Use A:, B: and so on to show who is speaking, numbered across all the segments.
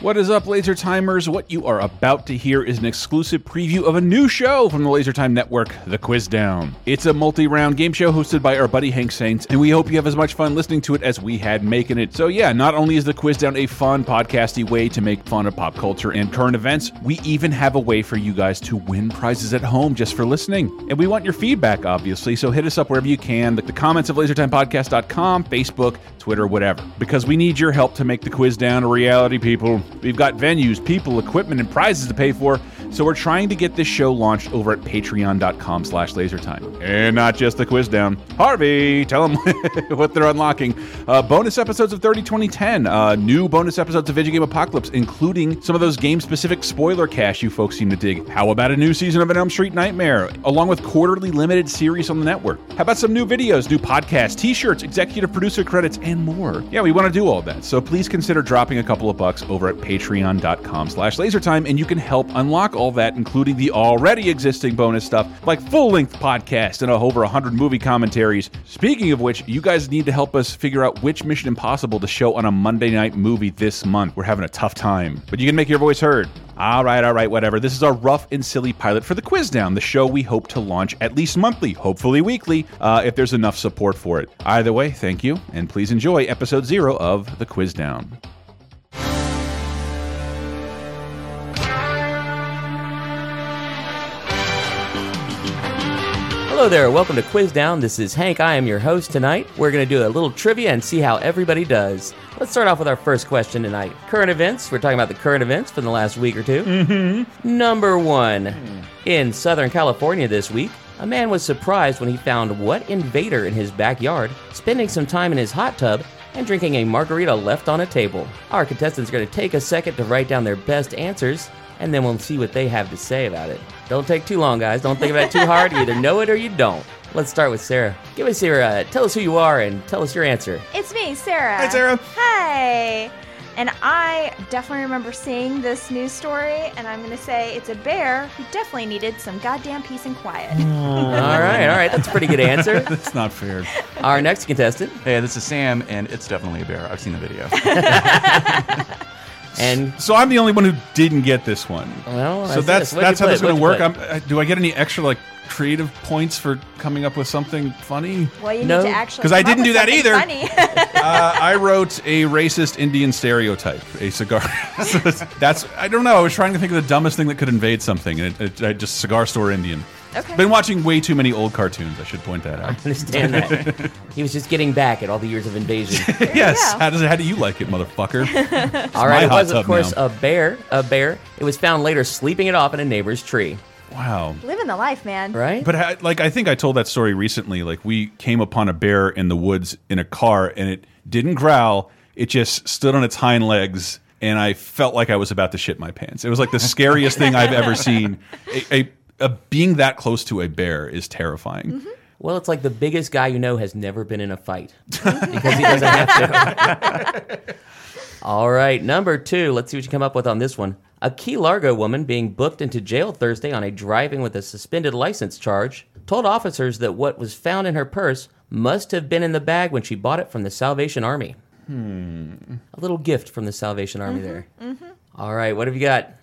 A: What is up, Laser Timers? What you are about to hear is an exclusive preview of a new show from the Laser Time Network, The Quiz Down. It's a multi round game show hosted by our buddy Hank Saints, and we hope you have as much fun listening to it as we had making it. So, yeah, not only is The Quiz Down a fun, podcasty way to make fun of pop culture and current events, we even have a way for you guys to win prizes at home just for listening. And we want your feedback, obviously, so hit us up wherever you can the, the comments of lasertimepodcast.com, Facebook, Twitter, whatever, because we need your help to make the quiz down a reality, people. We've got venues, people, equipment, and prizes to pay for, so we're trying to get this show launched over at patreon.com slash lasertime. And not just the quiz down. Harvey, tell them what they're unlocking. Uh, bonus episodes of 30 2010, uh, new bonus episodes of Video Game Apocalypse, including some of those game-specific spoiler cash you folks seem to dig. How about a new season of An Elm Street Nightmare, along with quarterly limited series on the network? How about some new videos, new podcasts, t-shirts, executive producer credits, and more? Yeah, we want to do all that, so please consider dropping a couple of bucks over at patreon.com slash lasertime, and you can help unlock all that, including the already existing bonus stuff, like full-length podcasts and over 100 movie commentaries. Speaking of which, you guys need to help us figure out which Mission Impossible to show on a Monday night movie this month. We're having a tough time, but you can make your voice heard. All right, all right, whatever. This is our rough and silly pilot for the Quiz Down, the show we hope to launch at least monthly, hopefully weekly, uh, if there's enough support for it. Either way, thank you, and please enjoy episode zero of the Quiz Down.
B: Hello there, welcome to Quiz Down. This is Hank. I am your host tonight. We're going to do a little trivia and see how everybody does. Let's start off with our first question tonight. Current events. We're talking about the current events from the last week or 2 Mm-hmm. Number one. In Southern California this week, a man was surprised when he found what invader in his backyard, spending some time in his hot tub and drinking a margarita left on a table. Our contestants are going to take a second to write down their best answers, and then we'll see what they have to say about it. Don't take too long, guys. Don't think about it too hard. You either know it or you don't. Let's start with Sarah. Give us your, uh, tell us who you are and tell us your answer.
C: It's me, Sarah.
D: Hi, Sarah.
C: Hi. And I definitely remember seeing this news story, and I'm going to say it's a bear who definitely needed some goddamn peace and quiet.
B: All right, all right. That's a pretty good answer.
A: That's not fair.
B: Our next contestant.
D: Hey, this is Sam, and it's definitely a bear. I've seen the video.
B: And,
A: So I'm the only one who didn't get this one.
B: well,
A: So that's
B: it. What'd
A: that's
B: you
A: how this is
B: put?
A: going to work.
B: What'd you
A: I'm, uh, do I get any extra like creative points for coming up with something funny?
C: Well, you
B: No,
C: need to actually.
A: 'cause I
C: come up
A: didn't
C: with
A: do that
C: something
A: either.
C: Funny.
A: uh, I wrote a racist Indian stereotype, a cigar. So it's- that's I don't know. I was trying to think of the dumbest thing that could invade something, and it, it, I just cigar store Indian.
C: Okay.
A: Been watching way too many old cartoons. I should point that out.
B: understand that. he was just getting back at all the years of invasion.
A: yes.
C: go.
A: How does it? How do you like it, motherfucker?
B: all right,
A: my
B: it
A: hot
B: was
A: tub
B: of course
A: now.
B: a bear. A bear. It was found later sleeping it off in a neighbor's tree.
A: Wow.
C: Living the life, man.
B: Right?
A: But I- like I think I told that story recently. Like we came upon a bear in the woods in a car, and it didn't growl. It just stood on its hind legs, and I felt like I was about to shit my pants. It was like the scariest thing I've ever seen. A, a, a being that close to a bear is terrifying.
B: well, it's like the biggest guy you know has never been in a fight because he doesn't have to. all right, number two. Let's see what you come up with on this one. A Key Largo woman being booked into jail Thursday on a driving with a suspended license charge told officers that what was found in her purse must have been in the bag when she bought it from the Salvation Army. Hmm. A little gift from the Salvation Army there. All right, what have you got?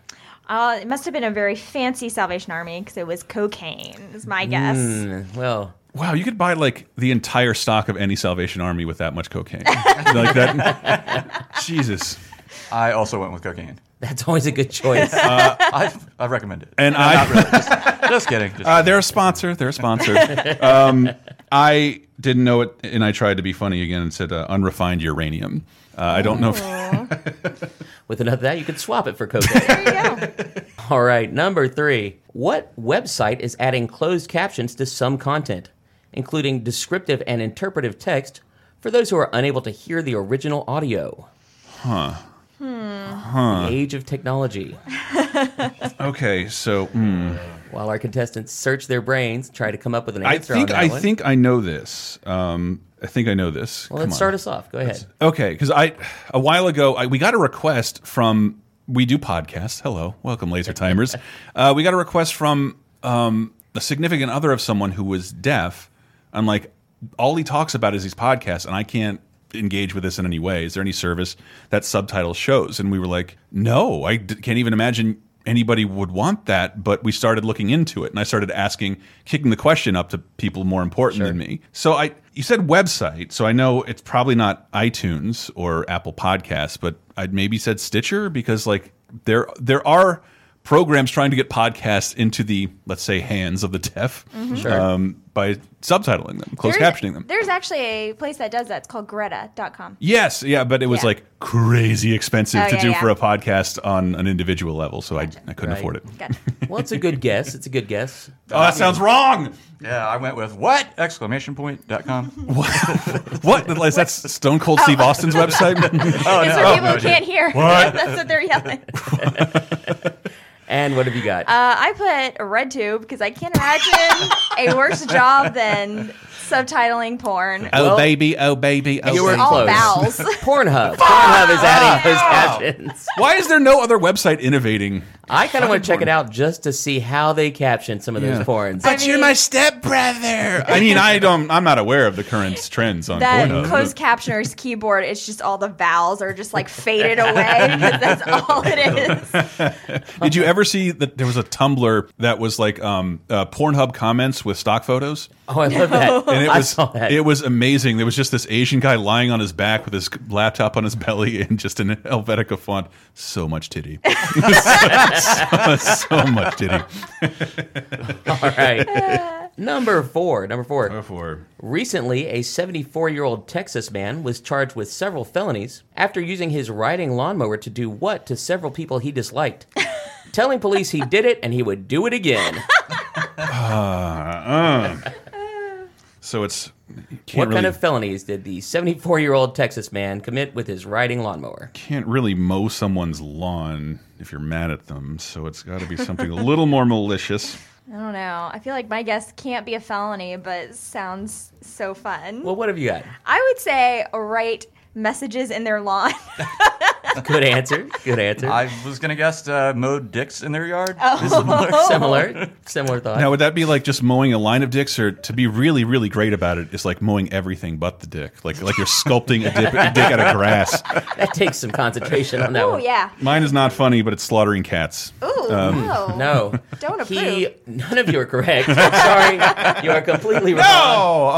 C: Uh, it must have been a very fancy Salvation Army because it was cocaine, is my guess.
B: Mm, well,
A: Wow, you could buy like the entire stock of any Salvation Army with that much cocaine. like that. Jesus.
D: I also went with cocaine.
B: that's always a good choice.
D: I, I recommend it.
A: And I.
D: Just kidding. Just,
A: Uh, they're a sponsor. They're a sponsor. um, I didn't know it, and I tried to be funny again and said uh, unrefined uranium. Uh, I don't know. If,
B: With enough of that, you could swap it for cocaine.
C: There you go.
B: All right, number three. What website is adding closed captions to some content, including descriptive and interpretive text for those who are unable to hear the original audio? Huh. Hmm. The age of technology.
A: okay, so mm,
B: While our contestants search their brains, try to come up with an
A: I
B: answer
A: think
B: on that
A: I
B: one.
A: think I know this. Um, I think I know this.
B: well, let's start us off. Go ahead.
A: Okay, because I a while ago I, we got a request from we do podcasts. Hello, welcome, Laser Timers. uh, we got a request from um, a significant other of someone who was deaf. I'm like, all he talks about is these podcasts, and I can't. engage with this in any way? Is there any service that subtitle shows? And we were like, no, I d can't even imagine anybody would want that. But we started looking into it, and I started asking, kicking the question up to people more important than me. So I, you said website, so I know it's probably not iTunes or Apple Podcasts, but I'd maybe said Stitcher because like there there are programs trying to get podcasts into the let's say hands of the deaf
C: Mm-hmm.
A: um, by subtitling them, closed
C: There's-
A: captioning them.
C: There's actually a place that does that. It's called Greta.com.
A: Yes, yeah, but it was
C: Yeah.
A: like crazy expensive
C: Oh,
A: to
C: yeah,
A: do
C: yeah.
A: for a podcast on an individual level, so I, I couldn't
B: Right.
A: afford it.
C: Gotcha.
B: Well, it's a good guess. It's a good guess.
A: Oh, that sounds wrong.
D: Yeah, I went with what? Exclamation point dot com.
A: What? Is that Stone Cold Steve
B: Oh.
A: Austin's website?
C: it's
A: Oh,
C: for people who can't hear. That's what they're yelling.
B: And what have you got?
C: Uh, I put a red tube because I can't imagine a worse job than subtitling porn.
A: oh baby, oh baby, oh.
B: You were
A: baby.
C: all
B: close.
C: vowels.
B: Pornhub. Pornhub is adding those captions.
A: Why is there no other website innovating?
B: I kind of want to check it out just to see how they caption some of
A: Yeah.
B: those porns.
C: But you're my
A: stepbrother. I mean, I don't. I'm not aware of the current trends on
C: That
A: Pornhub.
C: closed captioner's keyboard, it's just all the vowels are just like faded away. 'cause That's all it is.
A: Did you ever see that there was a Tumblr that was like um, uh, Pornhub comments with stock photos?
B: Oh, I love that.
A: And it
B: I
A: was
B: saw that.
A: it was amazing. There was just this Asian guy lying on his back with his laptop on his belly and just in Helvetica font. So much titty. so, so- so much titty.
B: All right. Number four. Number
A: Uh-huh.
B: four.
A: Therefore,
B: Recently, a 74 year old Texas man was charged with several felonies after using his riding lawnmower to do what to several people he disliked. Telling police he did it and he would do it again.
A: Uh-huh. so it's you can't
B: What
A: really,
B: kind of felonies did the 74 year old Texas man commit with his riding lawnmower?
A: can't really mow someone's lawn if you're mad at them. So it's got to be something a little more malicious.
C: I don't know. I feel like my guess can't be a felony, but sounds so fun.
B: Well, what have you got?
C: I would say write messages in their lawn.
B: Good answer. Good answer.
D: I was gonna guess uh, mowed dicks in their yard.
C: Oh.
B: similar, similar thought.
A: Now, would that be like just mowing a line of dicks, or to be really, really great about it is like mowing everything but the dick, like like you're sculpting a dip, dick out of grass.
B: That takes some concentration on that
C: Oh,
B: one.
C: yeah.
A: Mine is not funny, but it's slaughtering cats.
C: Ooh,
A: Um,
C: no.
B: No,
C: Don't approve.
B: He, none of you are correct. I'm sorry, you are completely wrong.
A: Oh,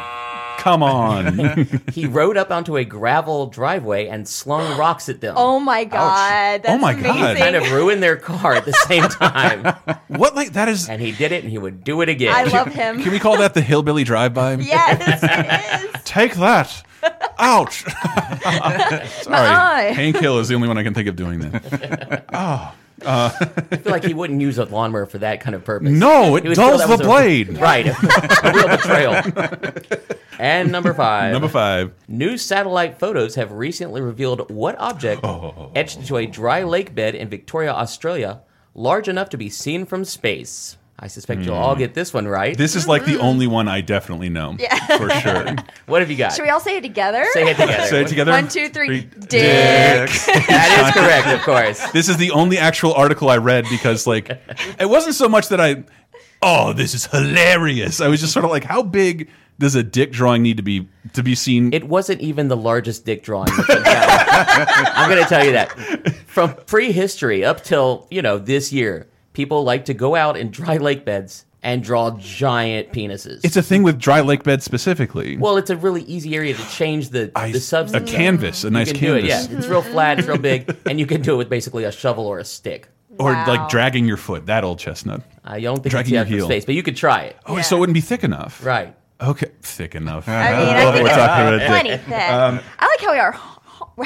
A: oh, come on!
B: He rode up onto a gravel driveway and slung rocks at them.
C: Oh my god. That's
A: Oh my God.
C: amazing.
B: kind of ruined their car at the same time.
A: what like that is?
B: and he did it, and he would do it again.
C: I love him.
A: Can we call that the hillbilly drive-by?
C: yes, it is.
A: Take that! Ouch! Sorry,
C: eye.
A: Hank Hill is the only one I can think of doing that.
B: I feel like he wouldn't use a lawnmower for that kind of purpose.
A: No, it
B: He would feel
A: dulls
B: that
A: the
B: was a-
A: blade.
B: Right, a real betrayal. And number five.
A: Number five.
B: New satellite photos have recently revealed what object etched into a dry lake bed in Victoria, Australia, large enough to be seen from space. I suspect you'll all get this one right.
A: Hmm. This is like the only one I definitely know for sure.
B: what have you got?
C: Should we all say it together?
B: Say it together.
A: Say it together.
C: One, two, three. Dick.
D: dicks.
B: that is correct, of course.
A: this is the only actual article I read because like it wasn't so much that I oh this is hilarious. I was just sort of like how big does a dick drawing need to be to be seen?
B: It wasn't even the largest dick drawing. that you got. I'm going to tell you that. From prehistory up till, you know, this year, people like to go out in dry lake beds and draw giant penises.
A: it's a thing with dry lake beds specifically.
B: well, it's a really easy area to change the,
A: I-
B: the
A: a
B: substance. of.
A: canvas, a nice
B: you can do
A: canvas,
B: it. Yeah, it's real flat, it's real big, and you can do it with basically a shovel or a stick.
A: or like
C: Wow.
A: dragging your foot. That old chestnut.
B: I don't think
A: Dragging
B: it's yet
A: your
B: for
A: heel.
B: space, but you could try it.
A: Oh, so it wouldn't be thick enough.
B: Right.
A: Okay, thick enough.
C: I mean,
A: Love
C: I
A: it,
C: think
A: we're
C: it's
A: talking about dick.
C: plenty thick. I like how we are,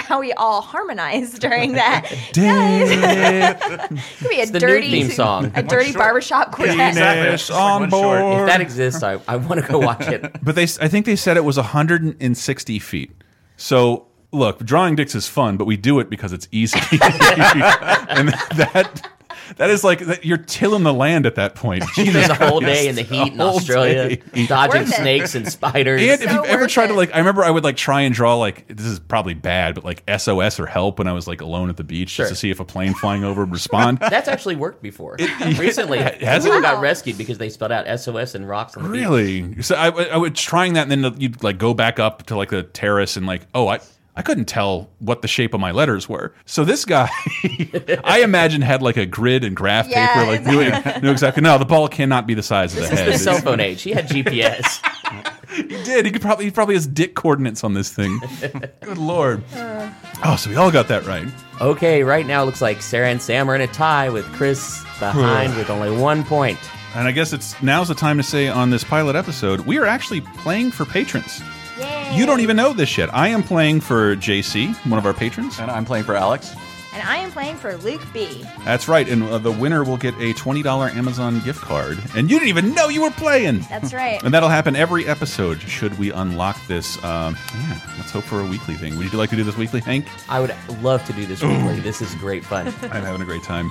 C: how we all harmonize during that. It
A: Dick
C: could be a
B: the new
C: dirty
B: theme song.
C: a dirty
D: short-
C: barbershop quartet.
A: penis
D: Exactly.
A: on
D: One short.
A: board.
B: If that exists, I, I want to go watch it.
A: But they, I think they said it was 160 feet. So look, drawing dicks is fun, but we do it because it's easy, and that That is like that- you're tilling the land at that point. Jesus
B: There's a whole
A: Christ.
B: day in the heat in
A: A whole
B: Australia,
A: day.
B: dodging
C: Worth it.
B: snakes and spiders.
A: And if
C: So
A: you've ever
C: worth
A: tried to
C: it.
A: like, I remember I would like try and draw like this is probably bad, but like SOS or help when I was like alone at the beach
B: Sure.
A: just to see if a plane flying over would respond.
B: That's actually worked before. Recently,
A: Has
B: people
C: it?
B: got
C: Wow.
B: rescued because they spelled out SOS and rocks. On the beach.
A: really? So I, I was trying that, and then you'd like go back up to like the terrace and like, oh, I. I couldn't tell what the shape of my letters were. So this guy, I imagine, had like a grid and graph
C: Yeah,
A: paper, like knew, knew exactly. No, the ball cannot be the size of the head.
B: The cell phone age. He had GPS.
A: He did. He could probably he probably has dick coordinates on this thing. Good lord. Oh, so we all got that right.
B: okay, right now it looks like Sarah and Sam are in a tie with Chris behind with only one point.
A: And I guess it's now's the time to say on this pilot episode, we are actually playing for patrons.
C: Yay.
A: You don't even know this yet. I am playing for JC, one of our patrons.
D: And I'm playing for Alex.
C: And I am playing for Luke B.
A: That's right. And uh, the winner will get a $20 Amazon gift card. And you didn't even know you were playing.
C: That's right.
A: And that'll happen every episode should we unlock this. Um, yeah, let's hope for a weekly thing. Would you like to do this weekly, Hank?
B: I would love to do this weekly. This is great fun.
A: I'm having a great time.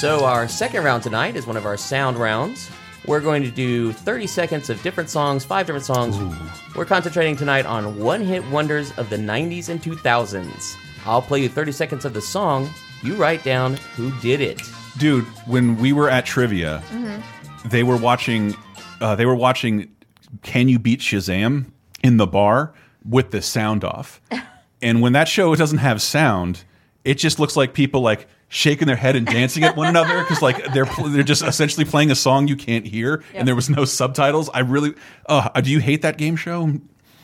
B: So, our second round tonight is one of our sound rounds. We're going to do 30 seconds of different songs, five different songs. We're concentrating tonight on one hit wonders of the 90s and 2000s. I'll play you 30 seconds of the song. You write down who did it.
A: dude when we were at trivia
B: Mm-hmm.
A: they were watching uh, they were watching can you beat shazam in the bar with the sound off and when that show doesn't have sound it just looks like people like shaking their head and dancing at one another because like they're pl- they're just essentially playing a song you can't hear and there was no subtitles i really uh, do you hate that game show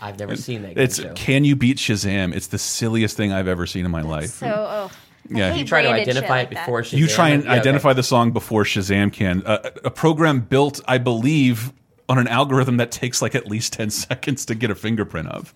B: I've never seen that.
A: it's
B: game show.
A: can you beat shazam it's the silliest thing i've ever seen in my life
C: so, oh. I
A: Yeah.
C: hate
A: You
B: try to
C: branded shit
B: identify it
C: like that.
B: before Shazam.
A: you try and
B: Yeah, okay.
A: identify the song before Shazam can. A, a program built, I believe, on an algorithm that takes like at least ten seconds to get a fingerprint of.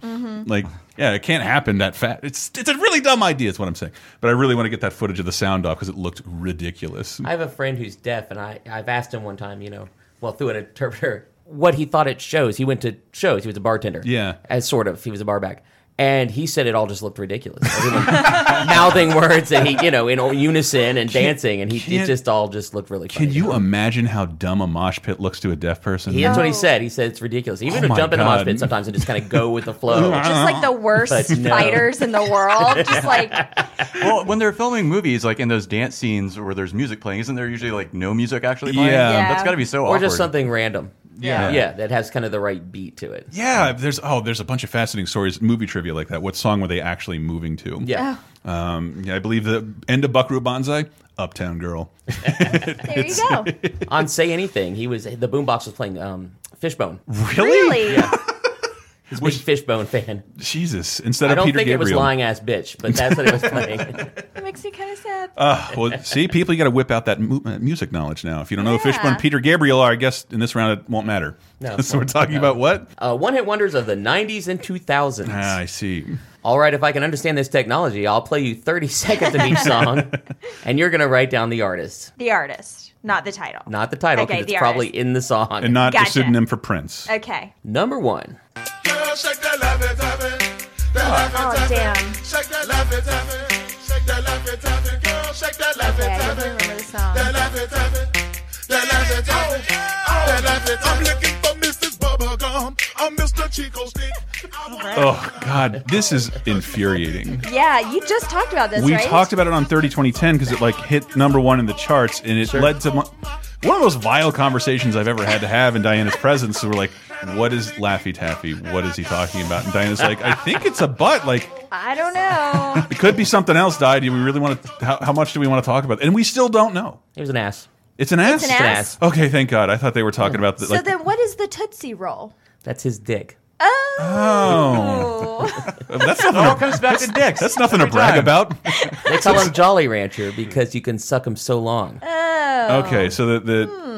A: Like, yeah, it can't happen that fast. It's it's a really dumb idea. Is what I'm saying. But I really want to get that footage of the sound off because it looked ridiculous.
B: I have a friend who's deaf, and I, I've asked him one time, you know, well, through an interpreter, what he thought it shows. He went to shows. He was a bartender.
A: Yeah.
B: As sort of. He was a barback. And he said it all just looked ridiculous. Everyone mouthing words and he, you know, in unison and dancing. And he, it
A: can't-
B: just all just looked really funny.
A: Can you imagine how dumb a mosh pit looks to a deaf person?
B: He, that's what he
C: No.
B: said. He said it's ridiculous. Even to
A: Oh my
B: jump in a mosh
A: God.
B: pit sometimes and just kind of go with the flow.
C: Just like the worst
B: But no.
C: fighters in the world. Just like,
D: Well, when they're filming movies, like in those dance scenes where there's music playing, isn't there usually like no music actually playing?
A: Yeah.
C: Yeah.
D: That's got to be so
B: or
D: awkward.
B: just something random.
A: Yeah.
B: Yeah, that has kind of the right beat to it.
A: Yeah, there's oh, there's a bunch of fascinating stories, movie trivia like that. What song were they actually moving to?
B: Yeah.
C: oh,
A: um, yeah, I believe the end of Buckaroo Banzai, Uptown Girl.
C: there you go.
B: On Say Anything, he was, the boombox was playing um, Fishbone.
C: Really?
B: He's a big Fishbone fan.
A: Jesus, instead
B: I
A: of
B: don't
A: Peter
B: think
A: Gabriel.
B: it was lying ass bitch, but that's what it was playing.
C: That makes me kind of sad.
A: Ah, well, see, people, you got to whip out that mu uh, music knowledge now. If you don't know who
C: Yeah.
A: Fishbone, and Peter Gabriel are, I guess in this round it won't matter.
B: No,
A: so we're talking about what?
B: uh, one hit wonders of the 90s and 2000s.
A: Ah, I see.
B: All right, if I can understand this technology, I'll play you 30 seconds of each song, and you're going to write down the artist,
C: The artist, not the title.
B: not the title, because
C: Okay,
B: it's
C: the
B: probably
C: artist.
B: in the song.
A: And not the
C: Gotcha.
A: pseudonym for Prince.
C: Okay.
B: Number one.
E: Girl, shake that lovey dovey. That
C: Oh,
E: lovey dovey.
C: damn.
E: Shake that lovey dovey. Shake that lovey dovey. Girl, shake that lovey
C: Okay, I
E: dovey.
C: definitely remember the song.
E: That lovey dovey. That lovey dovey. That lovey dovey. I'm looking for Mrs. Bubblegum. I'm Mr. Chico Stick.
A: Oh God, this is infuriating.
C: Yeah, you just talked about this,
A: We
C: right?
A: talked about it on 30 2010 because it like hit number one in the charts, and it led to mo- one of those vile conversations I've ever had to have in Diana's presence. So we're like, "What is Laffy Taffy? What is he talking about?" And Diana's like, "I think it's a butt." Like.
C: I don't know.
A: It could be something else, Di. Do we really want to? How, how much do we want to talk about? it? And we still don't know.
B: It was an ass.
A: It's an ass.
C: It's an ass.
A: Okay, thank God. I thought they were talking about the,
C: so
A: like.
C: then, what is the Tootsie Roll?
B: That's his dick.
C: Oh.
A: that's
D: It all
A: nothing.
D: comes back to dicks.
A: That's nothing to
D: Every
A: brag
D: time.
A: about.
B: They call him Jolly Rancher because you can suck him so long.
C: Oh.
A: Okay, so the the. the-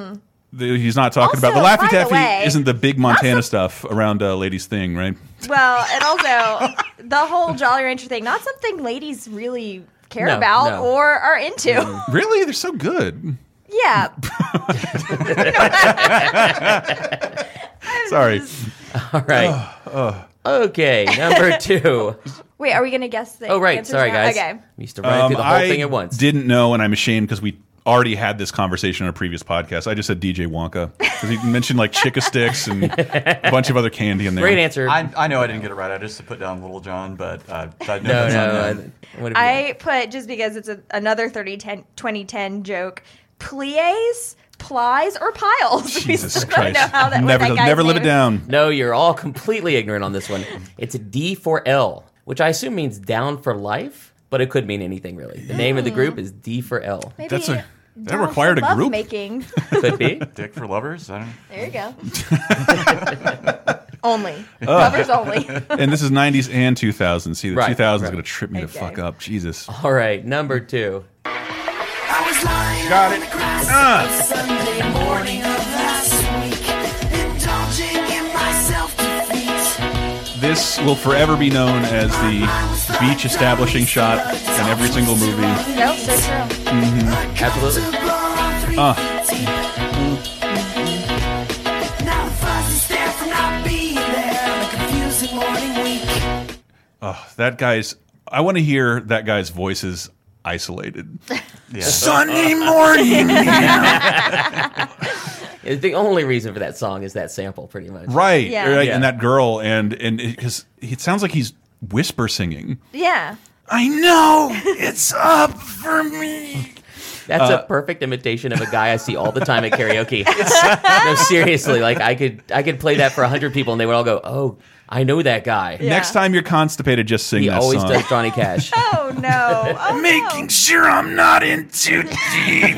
A: he's not talking about the
C: Hmm. Also,
A: Laffy
C: by the
A: Taffy.
C: way-
A: isn't the big Montana stuff around uh, ladies' thing, right?
C: Well, and also the whole Jolly Rancher thing, not something ladies really care
B: No,
C: about
B: no.
C: or are into.
A: Really, they're so good.
C: yeah.
A: Sorry,
B: All right. Okay, number two.
C: Wait, are we gonna guess the?
B: Oh, right.
C: answers
B: Sorry,
C: now?
B: guys.
C: Okay.
B: I'm used to running
A: Um,
B: through the whole
A: I
B: thing at once.
A: Didn't know, and I'm ashamed because we already had this conversation on a previous podcast. I just said DJ Wonka because he mentioned like Chicka Sticks and a bunch of other candy in there.
B: Great answer.
D: I, I know I didn't get it right. I just put down Little John, but uh, I know
B: no,
D: that's on
B: no. I,
D: them.
B: what have you got?
C: I put just because it's a, another 30 10, 2010 joke. Plies, plies, or piles. We
A: Jesus
C: still don't
A: Christ!
C: know how that- what
A: never,
C: that guy's
A: never live it
C: name-
A: down.
B: No, you're all completely ignorant on this one. It's a D for L, which I assume means down for life, but it could mean anything really. The name of the group is D for L.
C: Maybe
A: That's a- that
C: down
A: required
C: for
A: a group?
C: making.
B: Could be.
D: Dick for lovers. I don't.
C: There you go. only lovers only.
A: And this is '90s and 2000s. See, the
B: Right,
A: 2000s is
B: right.
A: going to trip me the
C: Okay.
A: fuck up. Jesus.
B: All right, number two.
F: I was lying
A: Got
F: on
A: it.
F: the grass
A: Ah.
F: on Sunday morning of last week, indulging in my self-defeat.
A: This will forever be known as the beach establishing shot in every single movie.
C: Nope, so true.
B: Absolutely.
A: Uh.
F: Now the fuzz is there from not being there on a confusing morning week.
A: Oh, that guy's. I want to hear that guy's voices isolated.
D: Yeah.
A: Sunday morning.
B: The only reason for that song is that sample, pretty much.
A: right,
C: Yeah.
A: right,
B: Yeah.
A: and that girl, and and because it, sounds like he's whisper singing.
C: Yeah.
A: I know it's up for me.
B: That's a perfect imitation of a guy I see all the time at karaoke. no, seriously, like I could I could play that for hundred people and they would all go, "Oh, I know that guy.
C: Yeah.
A: Next time you're constipated, just sing
B: He
A: that
B: always
A: song.
B: does Johnny Cash."
C: Oh no. Oh, no.
A: sure I'm not in too deep.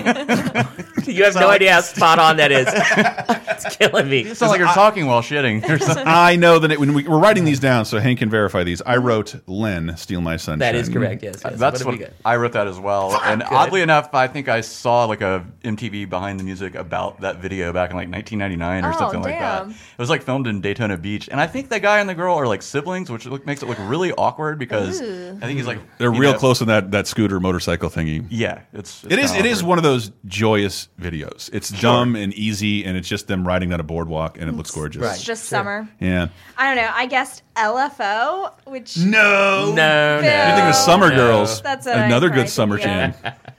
B: you have no idea how spot on that is. it's killing me.
D: Sounds like you're talking while shitting. Or something.
A: I know that it, when we, we're writing these down, so Hank can verify these. I wrote Len steal my sunshine.
B: That is correct. Yes. yes.
D: That's
B: have
D: what,
B: we got?
D: I wrote that as well. and oddly enough, I think I saw like a MTV behind the music about that video back in like 1999 or
C: Oh,
D: something like that.
C: damn.
D: It was like filmed in Daytona Beach, and I think the guy and the girl are like siblings, which look, makes it look really awkward because
C: Ooh.
D: I think he's like
A: They're
D: you
A: real
D: know-
A: close on that that scooter motorcycle thingy.
D: Yeah, it's, it's
A: It is. It
D: kinda
A: is
D: awkward.
A: one of those joyous videos. It's dumb and easy, and it's just them riding down a boardwalk, and it looks gorgeous.
B: Right.
C: It's just
B: Sure.
C: summer.
A: Yeah.
C: I don't know. I guessed LFO, which
A: Hmm? No.
B: No, no.
A: I
C: You're
A: think it was Summer
B: No.
A: Girls.
C: That's what I
A: another
C: tried
A: good
C: to
A: summer
C: do.
A: jam.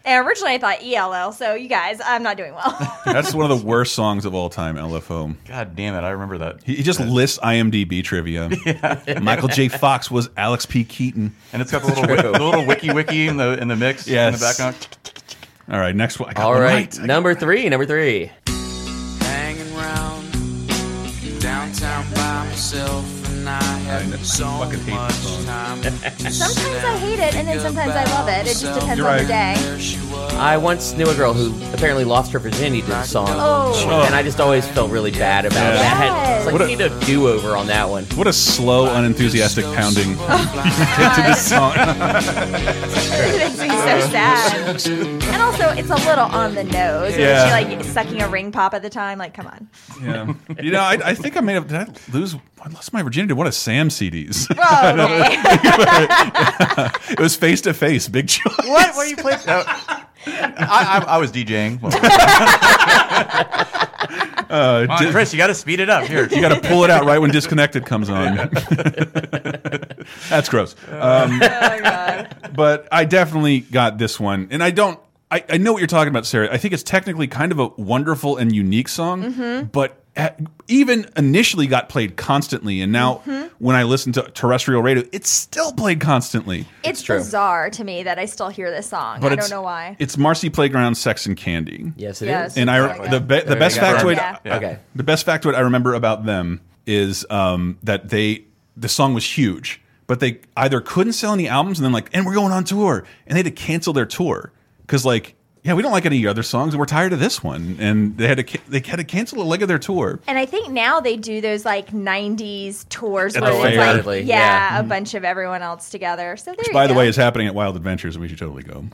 C: and originally I thought ELL. So you guys, I'm not doing well.
A: That's one of the worst songs of all time. LFO.
D: God damn it! I remember that.
A: He he just lists IMDb trivia. Michael J. Fox was Alex P. Keaton.
D: and it's got the little, wi- the little wiki wiki in the in the mix in
A: Yes.
D: the background.
A: All right, next one. I got
B: All
A: one
B: right, number three, number three.
G: hanging round downtown by myself, and I have so
A: fucking hate
G: much
A: this song.
G: time.
C: Sometimes I hate it, and then sometimes I love it. It just depends
A: You're
C: on
A: right.
C: the day.
G: There she was.
B: I once knew a girl who apparently lost her virginity to the song,
C: Oh,
B: and I just always felt really bad about it. I had, it's like
A: What
B: you
A: a-
B: need a do over on that one.
A: What a slow, unenthusiastic pounding to
C: God,
A: this song.
C: it makes me so sad. And also, it's a little on the
A: Yeah.
C: nose. Yeah. She like sucking a ring pop at the time. Like, come on.
A: yeah. You know, I, I think I made up. Did I lose? I lost my virginity to one of Sam's CDs.
C: Whoa, okay.
A: it was face to face, big choice.
D: What? What are you playing? No. I, I, I was DJing. Come
A: Uh,
D: on,
A: di-
D: Chris, you got to speed it up here.
A: you got to pull it out right when disconnected comes on. That's gross. Um,
C: oh god.
A: but I definitely got this one, and I don't. I, I know what you're talking about, Sarah. I think it's technically kind of a wonderful and unique song,
C: Mm-hmm.
A: but at- even initially got played constantly, and now
C: Mm-hmm.
A: when I listen to terrestrial radio, it's still played constantly.
C: It's,
B: true.
C: bizarre to me that I still hear this song. I
A: it's,
C: don't know why.
A: It's Marcy Playground, Sex and Candy.
B: Yes, it is.
C: Yes.
A: And I
C: Exactly.
A: the be, the
B: There
A: best
B: you go.
A: factoid
C: Yeah.
D: Yeah.
B: Okay.
A: the best factoid I remember about them is um, that they the song was huge, but they either couldn't sell any albums and then like and we're going on tour and they had to cancel their tour because like yeah we don't like any of your other songs and we're tired of this one and they had to ca- they had to cancel a leg of their tour.
C: And I think now they do those like '90s tours
A: At
C: where
A: the
C: it's
A: fair.
C: like,
B: Definitely,
C: yeah,
B: yeah.
C: a bunch of everyone else together. So there you
A: By the
C: go.
A: way, is happening at Wild Adventures and we should totally go.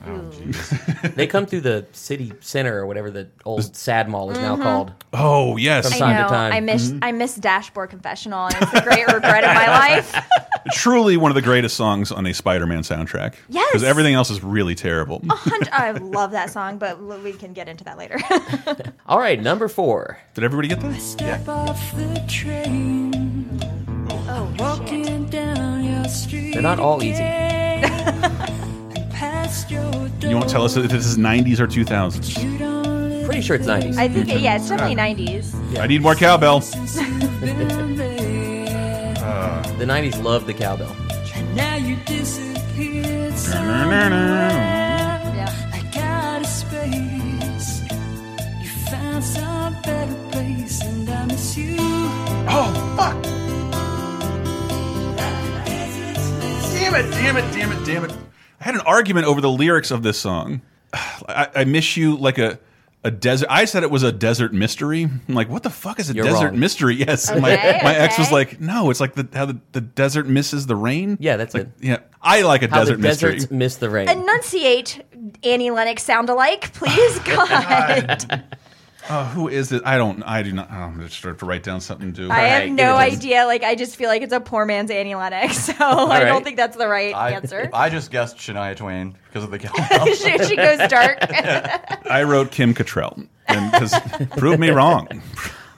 B: They come through the city center or whatever the old sad mall is
C: Mm-hmm.
B: now called.
A: Oh yes,
B: time
C: I
B: to
C: know.
B: time.
C: I miss I miss Dashboard Confessional, and it's a great regret of my life.
A: Truly one of the greatest songs on a Spider-Man soundtrack.
C: Yes. Oh.
A: Because everything else is really terrible.
C: Hun- I love that song, but l- we can get into that later.
B: All right, number four.
A: Did everybody get that?
H: Step off the train.
C: Oh,
H: Walking down your street.
B: They're not all easy.
H: again, and past your
A: You won't tell us
H: door.
A: if this is 90s or 2000s.
H: You don't live
B: Pretty sure it's 90s.
C: I think, it, yeah, it's definitely 90s.
A: I need more cowbell.
H: since you've been made.
B: The 90s loved the cowbell.
H: Now you disappeared somewhere.
C: Yeah.
H: Like out of space. You found some better place, and I miss you.
D: Oh, fuck! Damn it, damn it, damn it, damn it.
A: I had an argument over the lyrics of this song. I, I miss you like a a desert. I said it was a desert mystery. I'm like, what the fuck is a
B: You're
A: desert
B: wrong.
A: mystery? Yes, And my
C: Okay,
A: my ex was
C: okay.
A: like, no, it's like the how the, the desert misses the rain.
B: Yeah, that's
A: like,
B: it.
A: Yeah, I like a
B: How
A: desert
B: the
A: mystery.
B: deserts miss the rain.
C: Enunciate Annie Lennox sound alike, please, God.
A: Oh, who is it? I don't. I do not. oh, I'm gonna start to write down something to do.
C: I
B: right,
C: have
B: give
C: no
B: it to us.
C: idea. Like, I just feel like it's a poor man's Annie Lennox, so I
B: right.
C: don't think that's the right
D: I,
C: answer.
D: I just guessed Shania Twain because of the cowbell.
C: she, she goes dark.
A: I wrote Kim Cattrall. And 'cause- prove me wrong.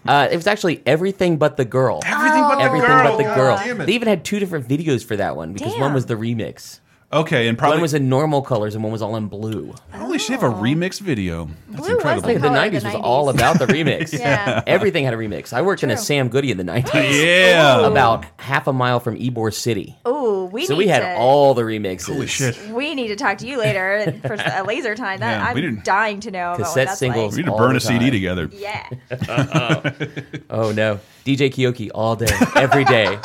B: Uh, it was actually Everything But the Girl.
A: Everything but the
B: Everything
A: girl.
B: But the Girl.
A: Damn it.
B: They even had two different videos for that one because one
C: Damn.
B: was the remix.
A: Okay, and
B: One
A: probably
B: was in normal colors and one was all in blue.
A: Holy shit, a remix video. That's
C: Blue was
B: I
A: incredible.
B: think the
C: Color
B: 90s,
C: of the
B: Oh. was
C: 90s.
B: all about the remix.
C: Yeah.
B: Everything had a remix. I worked in a
C: True. Oh.
B: Sam Goody in the 90s.
A: Yeah.
B: About half a mile from Ybor City.
C: Ooh, we
B: so
C: need
B: we had
C: to,
B: all the remixes.
A: Holy shit.
C: We need to talk to you later for a laser time. That
A: Yeah, we
C: I'm
A: didn't-
C: dying to know about what
B: Cassette
C: that's
B: singles.
A: We need
C: Like.
A: to
B: all
A: burn
B: the
A: a CD
B: time.
A: together.
C: Yeah,
B: Oh no. DJ Kioki all day, every day.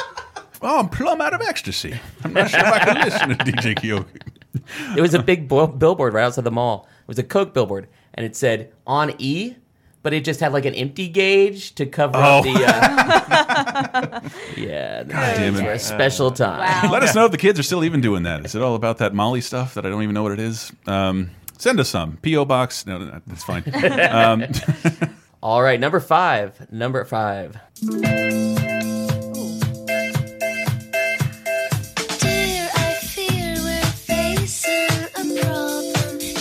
A: Oh, I'm plumb out of ecstasy. I'm not sure if I can listen to DJ Kyoki.
B: It was a big bu- billboard right outside the mall. It was a Coke billboard, and it said on E, but it just had like an empty gauge to cover up
A: Oh.
B: the. Uh, yeah, the
A: God damn
B: nineties
A: it. Uh,
B: were a special time.
C: wow.
A: Let us know if the kids are still even doing that. Is it all about that Molly stuff that I don't even know what it is? Um, send us some. P.O. Box. No, no, no that's fine. Um,
B: All right, number five. Number five.
H: Dear, I fear we're facing a problem. You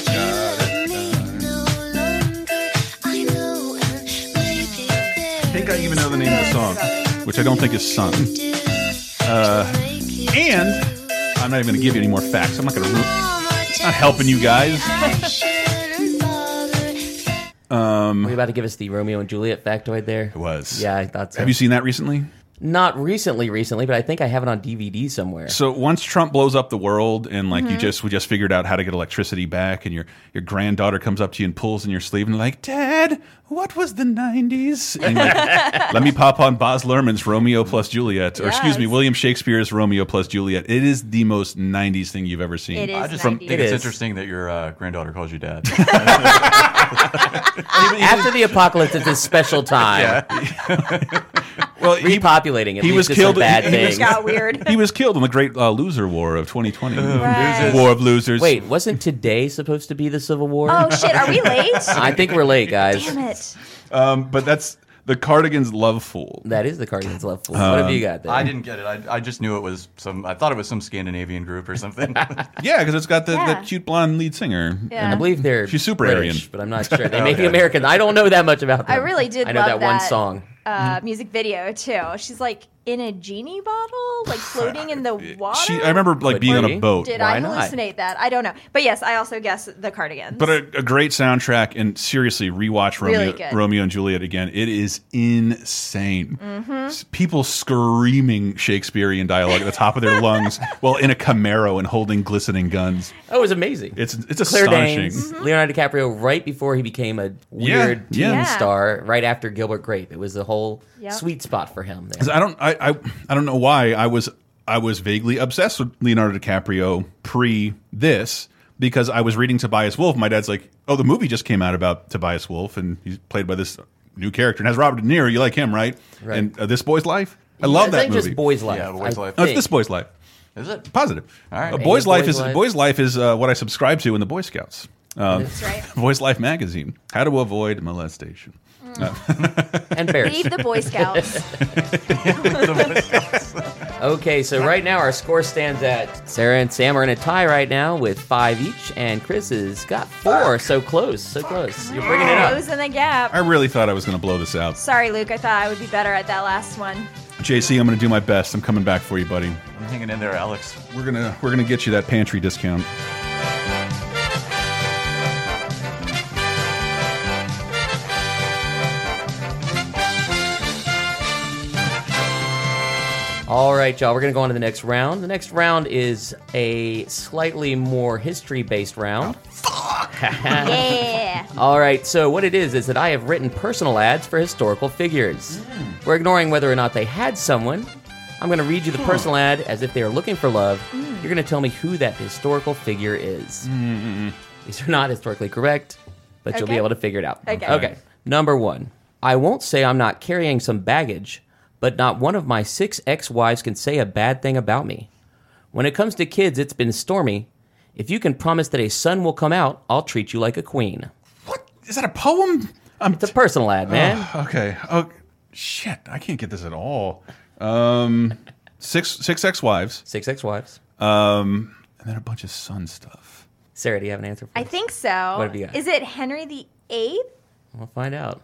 H: love me no longer. I know, and maybe there
A: I think I even know the name of the song, which I don't think is sung. Uh, and I'm not even going to give you any more facts. I'm not going to. Not helping you guys.
B: Were you about to give us the Romeo and Juliet factoid there? It
A: was.
B: Yeah, I thought so.
A: Have you seen that recently?
B: Not recently, recently, but I think I have it on DVD somewhere.
A: So once Trump blows up the world and like
C: Mm-hmm.
A: you just we just figured out how to get electricity back and your your granddaughter comes up to you and pulls in your sleeve and like, "Dad, what was the 90s?" And you're like, let me pop on Boz Lerman's Romeo plus Juliet or excuse me,
C: Yes.
A: William Shakespeare's Romeo plus Juliet. It is the most 90s thing you've ever seen.
C: it is.
D: I just
C: 90s.
D: think it's
B: is.
D: interesting that your uh, granddaughter calls you dad.
B: Ah, After the apocalypse, it's a special time.
A: Well, he,
B: Repopulating it
A: he
B: leads
A: was
B: to
A: killed-
B: some bad
A: he- he was
B: things.
C: It got weird.
A: he was killed in the Great uh, Loser War of 2020.
C: Right.
A: War of Losers.
B: Wait, wasn't today supposed to be the Civil War?
C: Oh shit, are we late?
B: I think we're late, guys.
C: Damn it.
A: Um, but that's the Cardigans Love Fool.
B: That is the Cardinals left foot. what have
A: Um,
B: you got there?
D: I didn't get it. I, I just knew it was some. I thought it was some Scandinavian group or something.
A: Yeah, because it's got the, the
C: Yeah.
A: cute blonde lead singer.
C: Yeah.
B: I believe they're
A: She's super
B: British,
A: Aryan.
B: but I'm not sure. They may be American. I don't know that much about them.
C: I really did
B: I know
C: love
B: that, one
C: that.
B: song.
C: uh, music video too. She's like in a genie bottle, like floating in the water.
A: She, I remember like
B: Could
A: being on
B: be.
A: a boat.
C: Did
B: Why
C: I
B: not?
C: hallucinate that? I don't know. But yes, I also guess the Cardigans.
A: But a, a great soundtrack, and seriously, rewatch Romeo,
C: Really good.
A: Romeo and Juliet again. It is insane.
C: Mm-hmm.
A: S- People screaming Shakespearean dialogue at the top of their lungs while in a Camaro and holding glistening guns.
B: Oh, it was amazing.
A: It's it's
B: Claire
A: astonishing.
B: Danes,
C: Mm-hmm.
B: Mm-hmm. Leonardo DiCaprio, right before he became a weird
A: yeah.
B: teen
C: Yeah.
B: star, right after Gilbert Grape. It was the whole
C: Yep.
B: sweet spot for him.
A: 'Cause
B: There.
A: I don't I, I I don't know why I was I was vaguely obsessed with Leonardo DiCaprio pre this because I was reading Tobias Wolf. My dad's like, "Oh, the movie just came out about Tobias Wolf, and he's played by this new character and has Robert De Niro. You like him, right?
B: Right.
A: And uh, this boy's life. I love
B: I
A: that
B: think
A: movie.
B: just Boy's Life.
D: Yeah, Boy's
B: I
D: Life.
A: No,
B: think.
A: it's this boy's life.
D: Is it?
A: Positive.
D: All right.
A: A
D: Maybe
A: boy's life
B: Boy's
A: is
B: Life.
A: boy's life is uh, what I subscribe to in the Boy Scouts. Um,
B: That's
C: right.
A: Boy's Life magazine. How to avoid molestation.
B: And Bears.
C: Leave the Boy Scouts.
B: Okay, so right now our score stands at Sarah and Sam are in a tie right now with five each, and Chris has got four. So close, so close. You're bringing it up.
C: Closing the gap.
A: I really thought I was going to blow this out.
C: Sorry, Luke. I thought I would be better at that last one.
A: JC, I'm going to do my best. I'm coming back for you, buddy.
D: I'm hanging in there, Alex.
A: We're going to we're going to get you that pantry discount.
B: All right, y'all. We're gonna go on to the next round. The next round is a slightly more history-based round.
C: Yeah.
B: All right, so what it is is that I have written personal ads for historical figures.
C: Hmm.
B: We're ignoring whether or not they had someone. I'm going to read you the personal ad as if they are looking for love.
C: Hmm.
B: You're going to tell me who that historical figure is. These are not historically correct, but you'll be
C: hmm. Okay.
B: able to figure it out.
C: Okay.
B: Okay. Number one I won't say I'm not carrying some baggage, but not one of my six ex wives can say a bad thing about me. When it comes to kids, it's been stormy. If you can promise that a son will come out, I'll treat you like a queen.
A: What? Is that a poem? I'm
B: It's a personal ad, man.
A: Okay. Oh shit, I can't get this at all. Um six six ex-wives
B: Six ex-wives.
A: um and then a bunch of son stuff.
B: Sarah, do you have an answer for
C: I
B: us?
C: think so.
B: What have you got?
C: Is it Henry the Eighth?
B: We'll find out.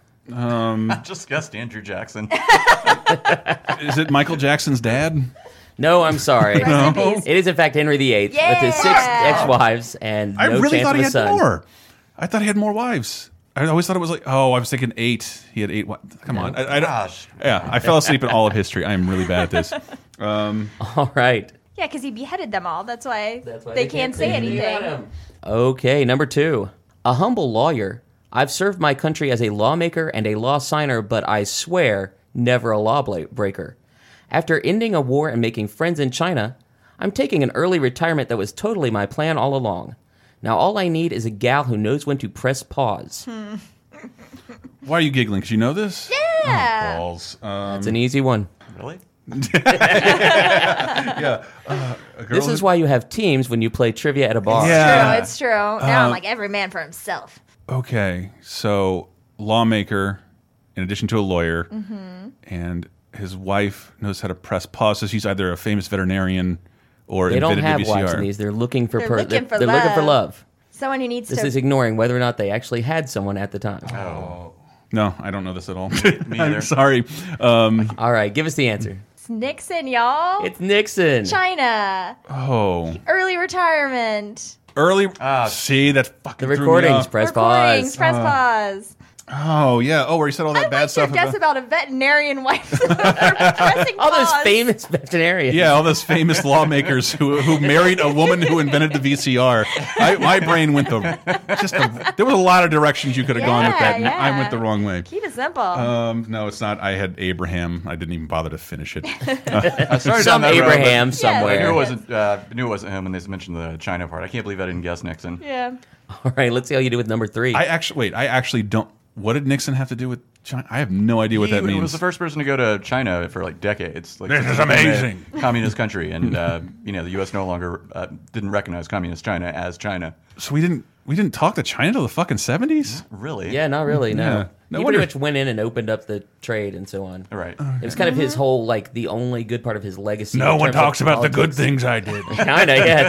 D: Just guessed Andrew Jackson.
A: Is it Michael Jackson's dad?
B: No, I'm sorry.
C: Rest in peace.
B: It is, in fact, Henry VIII with his six
C: Yeah.
B: ex-wives and no
A: I really
B: chance
A: thought
B: of
A: he
B: a
A: had
B: son.
A: more. I thought he had more wives. I always thought it was like, oh, I was thinking eight. He had eight. Wi Come on, I, I,
D: Gosh.
A: yeah, I fell asleep in all of history. I am really bad at this.
B: All right.
C: Yeah, because he beheaded them all. That's why, they, can't, say anything.
B: Okay, number two. A humble lawyer. I've served my country as a lawmaker and a law signer, but I swear never a law bla- breaker. After ending a war and making friends in China, I'm taking an early retirement that was totally my plan all along. Now all I need is a gal who knows when to press pause.
C: Hmm.
A: Why are you giggling? Because you know this.
C: Yeah.
A: Balls. Um,
B: It's an easy one.
D: Really?
A: yeah. Uh, a girl
B: This is
A: who-
B: why you have teams when you play trivia at a bar.
A: Yeah.
C: True, it's true. Now
B: Um,
C: I'm like every man for himself.
A: Okay, so lawmaker, in addition to a lawyer,
C: Mm-hmm.
A: and his wife knows how to press pause. So she's either a famous veterinarian or
B: They don't
A: invented
B: have
A: VCR.
B: wives in these. They're looking for
C: They're
B: per-
C: looking for
B: they're looking for
C: love.
B: love.
C: Someone who needs
B: This
C: to.
B: is ignoring whether or not they actually had someone at the time.
A: No, I don't know this at all.
D: Me
A: I'm
D: either.
A: sorry. Um,
B: All right, give us the answer.
C: it's Nixon, y'all.
B: It's Nixon.
C: China.
B: Ah,
A: oh,
C: Early retirement.
A: early.
D: Ah.
A: see that fucking
B: The
A: threw me
B: recordings,
A: off.
B: press pause.
C: Recordings. Press pause.
A: Oh yeah. Oh, where he said all that
C: I'd
A: bad
C: like
A: stuff.
C: to guess about a veterinarian wife. pressing
B: All those
C: pause.
B: famous veterinarians.
A: yeah, all those famous lawmakers who who married a woman who invented the VCR. I, my brain went the just the, there was a lot of directions you could have gone with
C: Yeah,
A: that. and I
C: yeah.
A: went the wrong way.
C: Keep it simple.
A: Um, no, it's not. I had Abraham. I didn't even bother to finish it.
D: I started
B: Some
D: down that road, but
B: Abraham
D: I knew it
B: somewhere.
D: wasn't. Uh, knew it wasn't him, and they mentioned the China part. I can't believe I didn't guess Nixon.
C: yeah.
B: All right, let's see how you do with number three.
A: I actually wait. I actually don't. What did Nixon have to do with China? I have no idea what that
D: he
A: means.
D: was the first person to go to China for like decades. Like,
A: This is
D: a
A: amazing.
D: Communist country, and uh, you know the U.S. no longer uh, didn't recognize communist China as China.
A: so we didn't. We didn't talk to China till the fucking seventies.
D: Really?
B: yeah, not really. No.
A: Yeah. No
B: he
A: wonder-
B: pretty much went in and opened up the trade and so on.
D: All right.
B: It was kind of his whole like the only good part of his legacy.
A: No
B: in
A: one
B: terms of
A: talks about the good things
B: politics.
A: I did.
B: Kinda, yeah,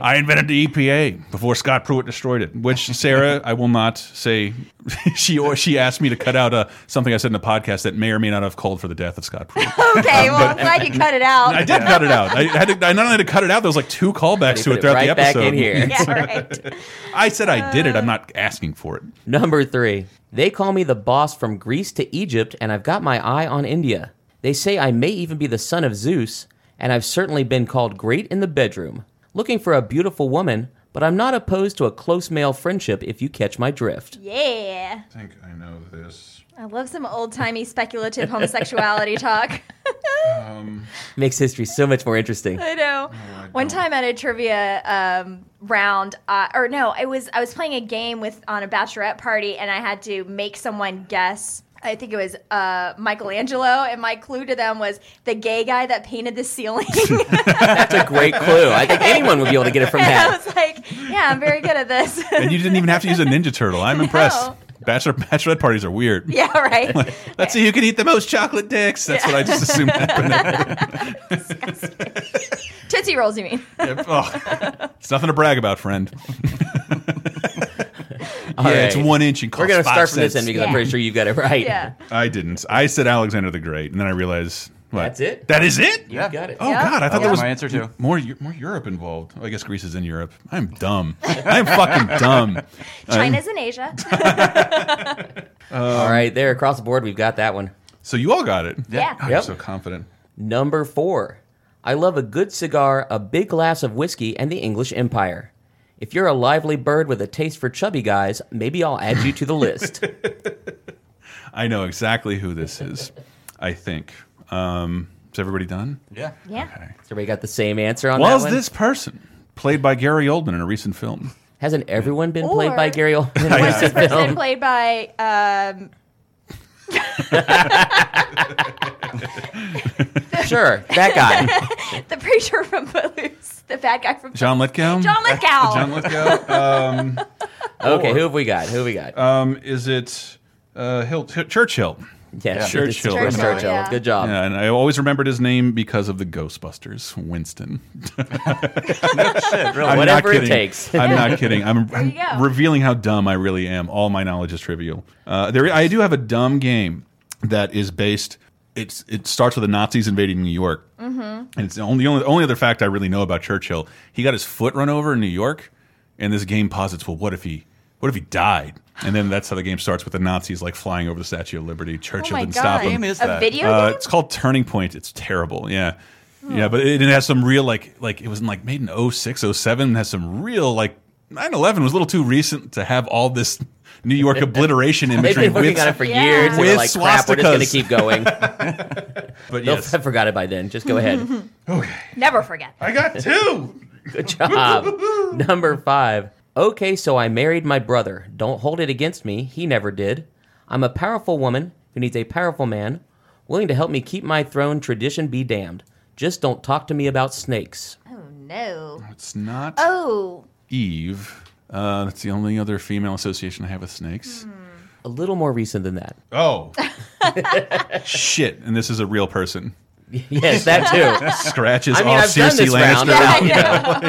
A: I invented the EPA before Scott Pruitt destroyed it. Which Sarah, I will not say. she or she asked me to cut out a, something I said in the podcast that may or may not have called for the death of Scott Pruitt.
C: Okay, well, I'm glad you cut it out.
A: Um, I did cut it out. I had to, I not only had to cut it out. There was like two callbacks to
B: Put
A: it
B: it
A: throughout
B: right
A: the
B: back
A: episode.
B: in here. Uh.
C: yeah, right.
A: I said I did it. I'm not asking for it.
B: Number three, they call me the boss from Greece to Egypt, and I've got my eye on India. They say I may even be the son of Zeus, and I've certainly been called great in the bedroom. Looking for a beautiful woman, but I'm not opposed to a close male friendship if you catch my drift.
C: Yeah.
A: I think I know this.
C: I love some old timey speculative homosexuality talk.
B: Makes history so much more interesting.
C: I know.
A: Oh,
C: One time at a trivia um, round, uh, or no, it was I was playing a game with on a bachelorette party, and I had to make someone guess. I think it was uh, Michelangelo, and my clue to them was the gay guy that painted the ceiling.
B: That's a great clue. I think anyone would be able to get it from
C: and I
B: that.
C: was like, "Yeah, I'm very good at this."
A: And you didn't even have to use a Ninja Turtle. I'm impressed.
C: No.
A: Bachelor bachelorette parties are weird.
C: Yeah, right.
A: Let's see who can eat the most chocolate dicks. That's what I just assumed happened.
C: Tootsie rolls, you mean?
A: Yeah, oh. It's nothing to brag about, friend. yeah, it's
B: right.
A: one inch and costs
B: We're gonna
A: five
B: start from this end
A: cents.
B: because I'm
C: Yeah.
B: pretty sure you've got it right.
C: Yeah.
A: I didn't. I said Alexander the Great, and then I realized what?
B: That's it?
A: That is it.
B: You
D: Yeah.
B: got it.
A: Oh
C: Yeah.
A: God, I thought
D: That
A: there
D: was
A: was
D: my answer too.
A: more Eu- more Europe involved. I guess Greece is in Europe. I'm dumb. I'm fucking dumb.
C: China's in Asia.
B: All right, there across the board, we've got that one.
A: So you all got it.
C: Yeah.
A: God, I'm
B: Yep.
A: so confident.
B: Number four. I love a good cigar, a big glass of whiskey, and the English Empire. If you're a lively bird with a taste for chubby guys, maybe I'll add you to the list.
A: I know exactly who this is. I think. Um, is everybody done?
D: Yeah.
C: Yeah.
B: So we got the same answer on
A: Was
B: that one.
A: this person played by Gary Oldman in a recent film?
B: Hasn't everyone been played by
C: Or-
B: Gary Oldman? in
C: Was
B: recent
C: this person
B: film?
C: played by um,
B: Sure, that guy.
C: the preacher from Footloose, the bad guy from
A: John Lithgow.
C: John Lithgow.
A: John Lithgow. Um,
B: Okay, who have we got? Who have we got?
A: um, is it uh, Hill, Ch- Churchill?
B: yeah, this is
A: Churchill.
B: Winston
C: Churchill,
B: Churchill.
C: yeah.
B: Good job.
A: Yeah, and I always remembered his name because of the Ghostbusters, Winston.
D: Shit, really.
A: I'm not
B: Whatever it
A: kidding.
B: takes.
A: I'm not kidding. I'm,
C: you
A: I'm
C: go.
A: revealing how dumb I really am. All my knowledge is trivial. Uh, there, I do have a dumb game that is based. It's it starts with the Nazis invading New York,
C: Mm-hmm.
A: and it's the only, only only other fact I really know about Churchill. He got his foot run over in New York, and this game posits, well, what if he what if he died? And then that's how the game starts with the Nazis like flying over the Statue of Liberty.
C: Oh
A: Churchill
C: my
A: didn't stop
C: god!
A: him.
D: Name is
C: a
D: that?
C: video
A: Uh,
C: game?
A: it's called Turning Point. It's terrible. Yeah.
B: Oh.
A: Yeah, but it, it has some real like like it was in, like made in 06, 07 and has some real like 9/11 was a little too recent to have all this New York obliteration
B: They've
A: imagery
B: been working
A: with
B: on it for
C: Yeah.
B: years. and
A: With
B: they're like, crap, we're just going to
A: swastikas.
B: keep going.
A: but
B: They'll
A: yes.
B: have forgot it by then. Just go ahead.
C: Never forget.
A: I got two.
B: Good job. Number five. Okay, so I married my brother. Don't hold it against me. He never did. I'm a powerful woman who needs a powerful man, willing to help me keep my throne. Tradition be damned. Just don't talk to me about snakes.
C: Oh no.
A: It's not
C: Oh,
A: Eve. Uh, that's the only other female association I have with snakes.
B: A little more recent than that.
A: Hmm. Oh. Shit, and this is a real person.
B: yes, that too.
A: Scratches
B: I mean,
A: off
B: I've done
A: Cersei
B: this round
A: Lannister.
B: about you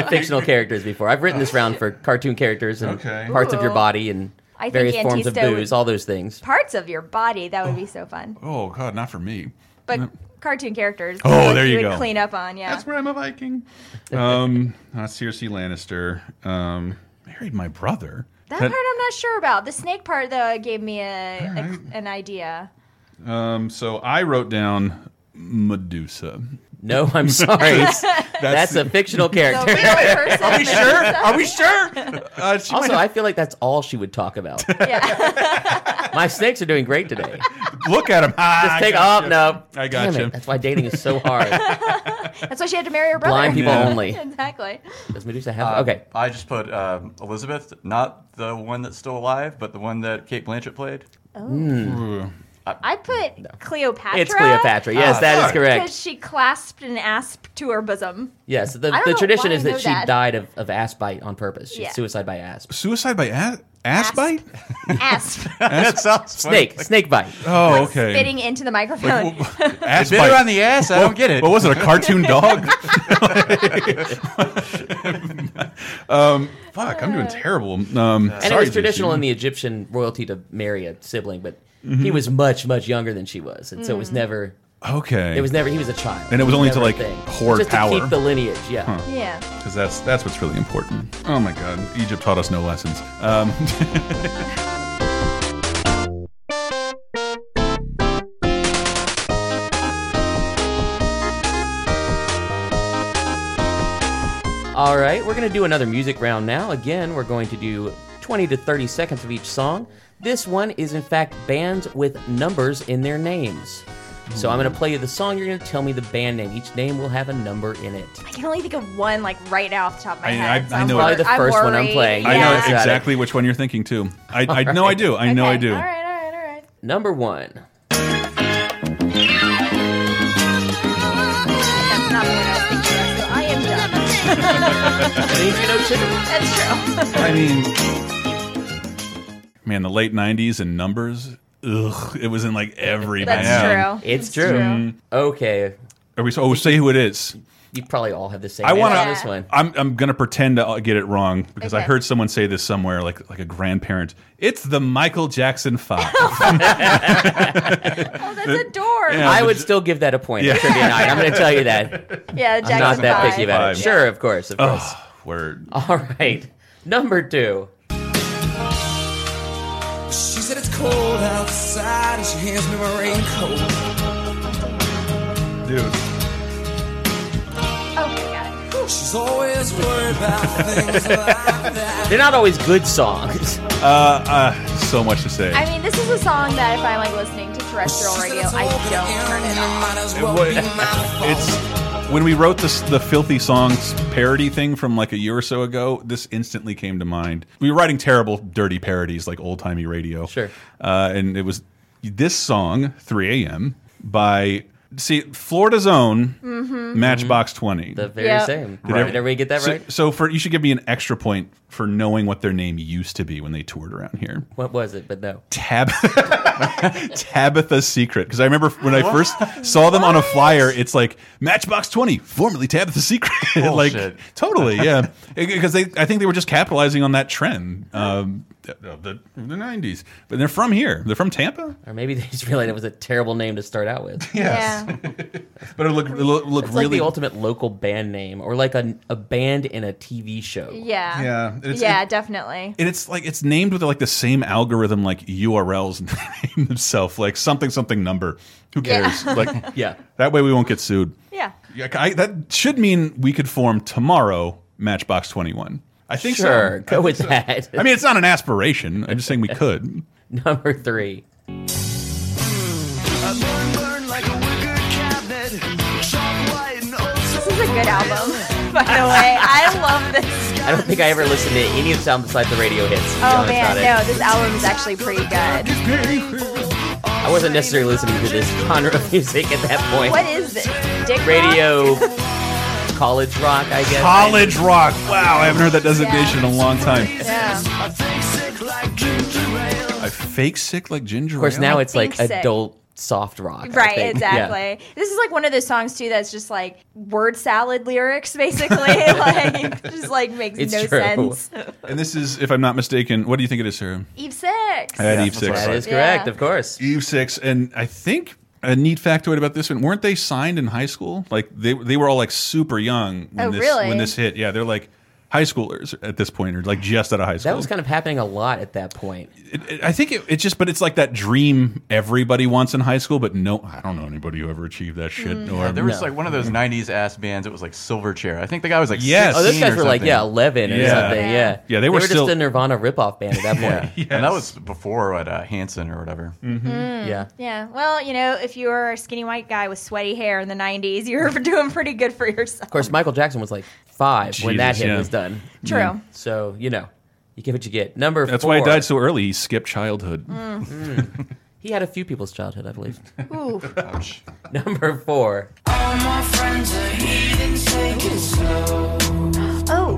B: know, fictional characters before. I've written this round for cartoon characters and
A: Okay.
B: parts of your
C: Ooh.
B: body and
C: I think
B: various forms of
C: Antista would-
B: booze, all those things.
C: parts of your body. That would be so fun.
A: Oh god, not for me.
C: But cartoon characters.
A: Oh, there you
C: would
A: go.
C: Clean up on yeah.
A: That's where I'm a Viking. Um, not Cersei Lannister. Um, married my brother.
C: That part I'm not sure about. The snake part though gave me a, a- an idea.
A: Um, so I wrote down Medusa.
B: No, I'm sorry. That's, a fictional
C: The
B: character.
C: real person. Are we sure?
A: Are we sure? Uh, she
B: Also,
A: might
B: I feel like that's all she would talk about.
C: Yeah.
B: My snakes are doing great today.
A: have- look at him. Ah,
B: Just
A: I
B: take
A: got
B: off.
A: you.
B: No,
A: I got
B: Damn it,
A: you.
B: That's why dating is so hard.
C: That's why she had to marry her brother.
B: Blind people
A: Yeah.
B: only.
C: exactly.
B: Does Medusa have?
D: Uh,
B: okay.
D: I just put um, Elizabeth, not the one that's still alive, but the one that Kate Blanchett played.
A: Ooh.
C: I put Cleopatra.
B: It's Cleopatra. Yes,
D: Ah,
B: that is
D: fuck.
B: correct.
C: Uh, Because she clasped an asp to her bosom.
B: Yes, the,
C: I don't
B: the
C: know
B: tradition
C: why I
B: is that
C: know
B: she
C: that.
B: died of, of ass bite on purpose. She
C: Yeah.
B: suicide by asp.
A: Suicide by ass, ass
C: Asp.
A: bite?
C: Asp.
D: that sounds
B: Snake, snake bite.
A: Oh, okay.
C: Spitting into the microphone.
A: Ass
D: Bit
A: bite.
D: around the ass. I don't get it.
A: What was it? A cartoon dog? um, fuck, I'm doing terrible. Um,
B: And it was traditional in the Egyptian royalty to marry a sibling, but he
A: Mm-hmm.
B: was much, much younger than she was, and so it was
C: Mm.
B: never.
A: Okay.
B: It was never. He was a child,
A: And it was only to,
B: never a
A: like,
B: thing.
A: hoard
B: just to
A: power.
B: keep the lineage. Yeah.
C: yeah.
A: because that's that's what's really important. Oh my God, Egypt taught us no lessons. Um,
B: All right, we're going to do another music round now. Again, we're going to do 20 to 30 seconds of each song. This one is, in fact, bands with numbers in their names. So I'm going to play you the song. You're going to tell me the band name. Each name will have a number in it.
C: I can only think of one, like, right now off the top of my
A: I-
C: head.
A: I-
C: so
A: I
C: I'm
A: know-
C: wor-
A: Probably
B: the
C: I'm
B: first one I'm
C: worried.
B: playing.
A: I
B: Yeah.
A: know exactly which one you're thinking too. I, I know I do. I know I
C: Okay.
A: do.
C: All right, all right, all right.
B: Number one.
C: That's not the one I was thinking of, so I am done.
B: That means you know chicken.
C: That's true.
A: I mean, Man, the late '90s and numbers. Ugh, it was in like every
C: That's
A: band.
C: true.
B: It's true. Okay,
A: Are we? Oh, say who it is.
B: you probably all have the same.
A: I
B: want
A: wanna-
B: on this one.
A: I'm I'm gonna pretend to uh, get it wrong because I
C: Okay.
A: heard someone say this somewhere, like like a grandparent. It's the Michael Jackson Five.
C: Oh,
A: Mm.
C: that's a door. Yeah,
B: I would still give that a point.
A: Yeah.
B: at Trivia night. I'm going to tell you that.
C: Jackson
B: I'm not that
C: five.
B: picky about it.
A: Five.
B: Sure, of course, of course.
A: Ugh, Word.
B: All right, number two.
G: She said it's cold outside and she hands me my raincoat.
A: Dude,
C: Okay, got it.
G: She's always worried about things like that.
B: They're not always good songs.
A: uh, uh, so much to say.
C: I mean, this is a song that if I'm like listening to terrestrial radio, I don't turn it off.
A: It wa- it's when we wrote this the filthy songs parody thing from like a year or so ago. This instantly came to mind. We were writing terrible, dirty parodies like old timey radio.
B: Sure.
A: uh, and it was this song 3 a.m. by see Florida's own Matchbox 20.
B: Mm-hmm. The very
C: Yeah.
B: same.
A: Did
B: Did
A: every-
B: everybody get that
A: so,
B: right?
A: So for you should give me an extra point for knowing what their name used to be when they toured around here.
B: What was it? But no.
A: Tab Tabitha's Secret. Because I remember when I first saw them on a flyer, it's like Matchbox 20, formerly Tabitha's Secret. like
D: Bullshit.
A: totally, yeah. Because they, I think they were just capitalizing on that trend um, of the, of the 90s. But they're from here. They're from Tampa.
B: Or maybe they just realized it was a terrible name to start out with.
C: Yeah.
A: But it looked it looked, looked
B: It's like
A: really
B: the ultimate local band name, or like a, a band in a TV show.
C: Yeah.
A: Yeah, it's-
C: yeah,
A: it-
C: definitely.
A: and it's like it's named with like the same algorithm like URLs name itself like something something number. Who
C: Yeah.
A: cares? Like
B: Yeah.
A: that way we won't get sued.
C: yeah.
A: Yeah, I, that should mean we could form tomorrow Matchbox 21. I think so.
B: Sure.
A: I
B: Go
A: think
B: with
A: so.
B: that.
A: I mean, it's not an aspiration. I'm just saying we could.
B: Number three.
C: This is a good album, by the way. I love this.
B: I don't think I ever listened to any of the sound besides the radio hits. to be
C: Oh
B: honest
C: man,
B: about it.
C: no, this album is actually pretty good.
B: I wasn't necessarily listening to this genre of music at that point.
C: What is this? Dick rock?
B: Radio, college rock, I guess.
A: College rock. Wow, I haven't heard that designation in a long time.
C: Yeah.
A: I fake sick like ginger.
B: Of course, now it's like
C: think so.
B: adult soft rock. I
C: Right,
B: think.
C: exactly.
B: Yeah.
C: This is like one of those songs too that's just like word salad lyrics, basically. like just like makes
B: It's
C: no
B: true.
C: sense.
A: And this is, if I'm not mistaken, what do you think it is, Sarah?
C: Eve Six.
A: I had Eve
D: that's
A: Six.
D: what
B: That is
C: Yeah.
B: correct, of course.
A: Eve Six, and I think a neat factoid about this one: weren't they signed in high school? Like they they were all like super young when
C: Oh,
A: this
C: really?
A: when this hit. Yeah, they're like high schoolers at this point, or like just out of high school.
B: That was kind of happening a lot at that point.
A: It- it- I think it, it's just, but it's like that dream everybody wants in high school, but no, I don't know anybody who ever achieved that shit. Or
D: Mm, There was like one of those '90s ass bands. It was like Silverchair. I think the guy was like
A: Yes.
B: Oh, those
D: 16
B: guys
D: or
B: were like,
D: something.
B: yeah, 11 or
A: Yeah.
B: something.
A: Yeah.
B: Yeah.
A: Yeah, they were
B: just
A: still-
B: a Nirvana ripoff band at that
D: Yeah,
B: point.
D: and that was before at uh, Hanson or whatever.
A: Mm. Hmm.
B: yeah.
C: Yeah. Well, you know, if you were a skinny white guy with sweaty hair in the nineties, you were doing pretty good for yourself.
B: Of course, Michael Jackson was like five when that
A: Jesus,
B: hit
A: yeah.
B: was done.
C: True.
B: So, you know, you get what you get. Number
A: that's
B: four.
A: why he died so early. He skipped childhood.
D: Mm.
B: He had a few people's childhood, I believe.
C: Ooh.
B: Number four.
F: All my friends are heathens, take it slow.
C: Oh.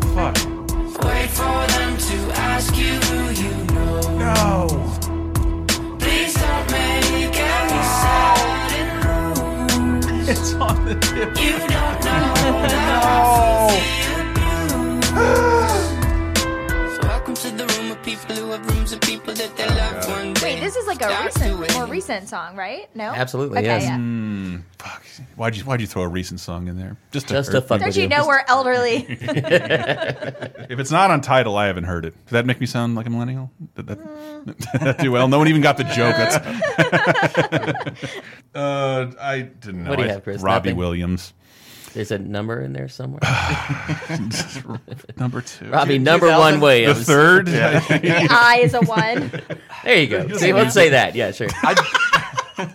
F: Wait for them to ask you who you know. No. Please don't make any sad and rude. You don't know how I feel. Welcome to the room of people who have rooms of people that they love one day.
C: Wait, this is like a recent, more recent song, right? No,
B: Absolutely,
C: Okay,
B: yes. Mm.
C: yeah.
A: Fuck. Why'd you Why'd you throw a recent song in there? Just to
B: Just
A: hurt
B: to fuck
A: people.
C: Don't you know we're elderly?
A: If it's not on title, I haven't heard it. Did that make me sound like a millennial? Did that, did that do well? No one even got the joke. That's. uh, I didn't know.
B: What do you
A: I-
B: have, Chris?
A: Robbie
B: Nothing?
A: Williams,
B: There's a number in there somewhere.
A: number two.
B: Robbie, number one
A: the
B: Williams.
A: third.
C: the eye is a one.
B: There you go. See, let's say that. Yeah, sure.
D: I,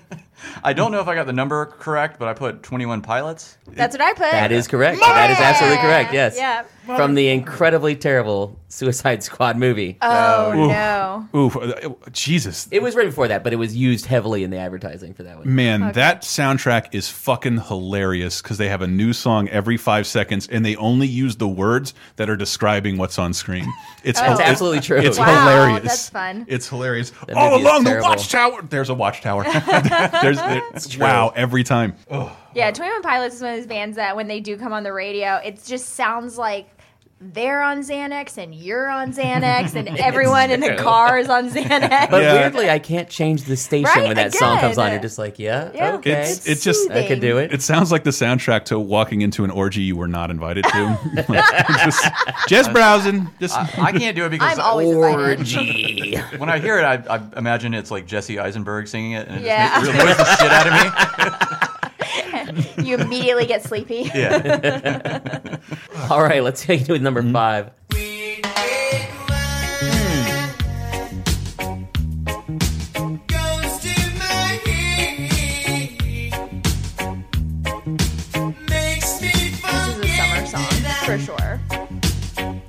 D: I don't know if I got the number correct, but I put 21 pilots.
C: That's what I put.
B: That is correct. That is absolutely correct. Yes.
C: Yeah.
B: From the incredibly terrible Suicide Squad movie.
C: Oh no.
A: Oof, uh, Jesus,
B: it was right before that, but it was used heavily in the advertising for that one.
A: Man, that soundtrack is fucking hilarious because they have a new song every five seconds and they only use the words that are describing what's on screen. It's
B: That's
A: hil-
B: absolutely true.
A: It's
B: Wow,
A: hilarious.
C: Oh. that's fun.
A: It's hilarious.
B: That
A: All
B: movie is
A: along the
B: terrible.
A: watchtower. There's a watchtower. There's there- wow every time.
C: Yeah, Twenty One Pilots is one of those bands that when they do come on the radio, it just sounds like they're on Xanax and you're on Xanax and everyone in the
B: true.
C: car is on Xanax.
B: But
A: Yeah.
B: weirdly, I can't change the station
C: Right,
B: when that song comes on.
C: again.
B: You're just like, yeah,
C: Yeah.
B: okay.
A: It's- it just-
B: I could do it.
A: It sounds like the soundtrack to walking into an orgy you were not invited to. Like, just, just browsing. Just
B: Uh,
D: I, I can't do it because
C: I'm always invited.
B: Orgy.
D: when I hear it, I, I imagine it's like Jesse Eisenberg singing it, and it
C: Yeah.
D: just annoys the shit out of me.
C: You immediately get sleepy.
D: Yeah.
B: All right, let's take it with number
A: Mm-hmm.
B: five.
C: This is a summer song for sure.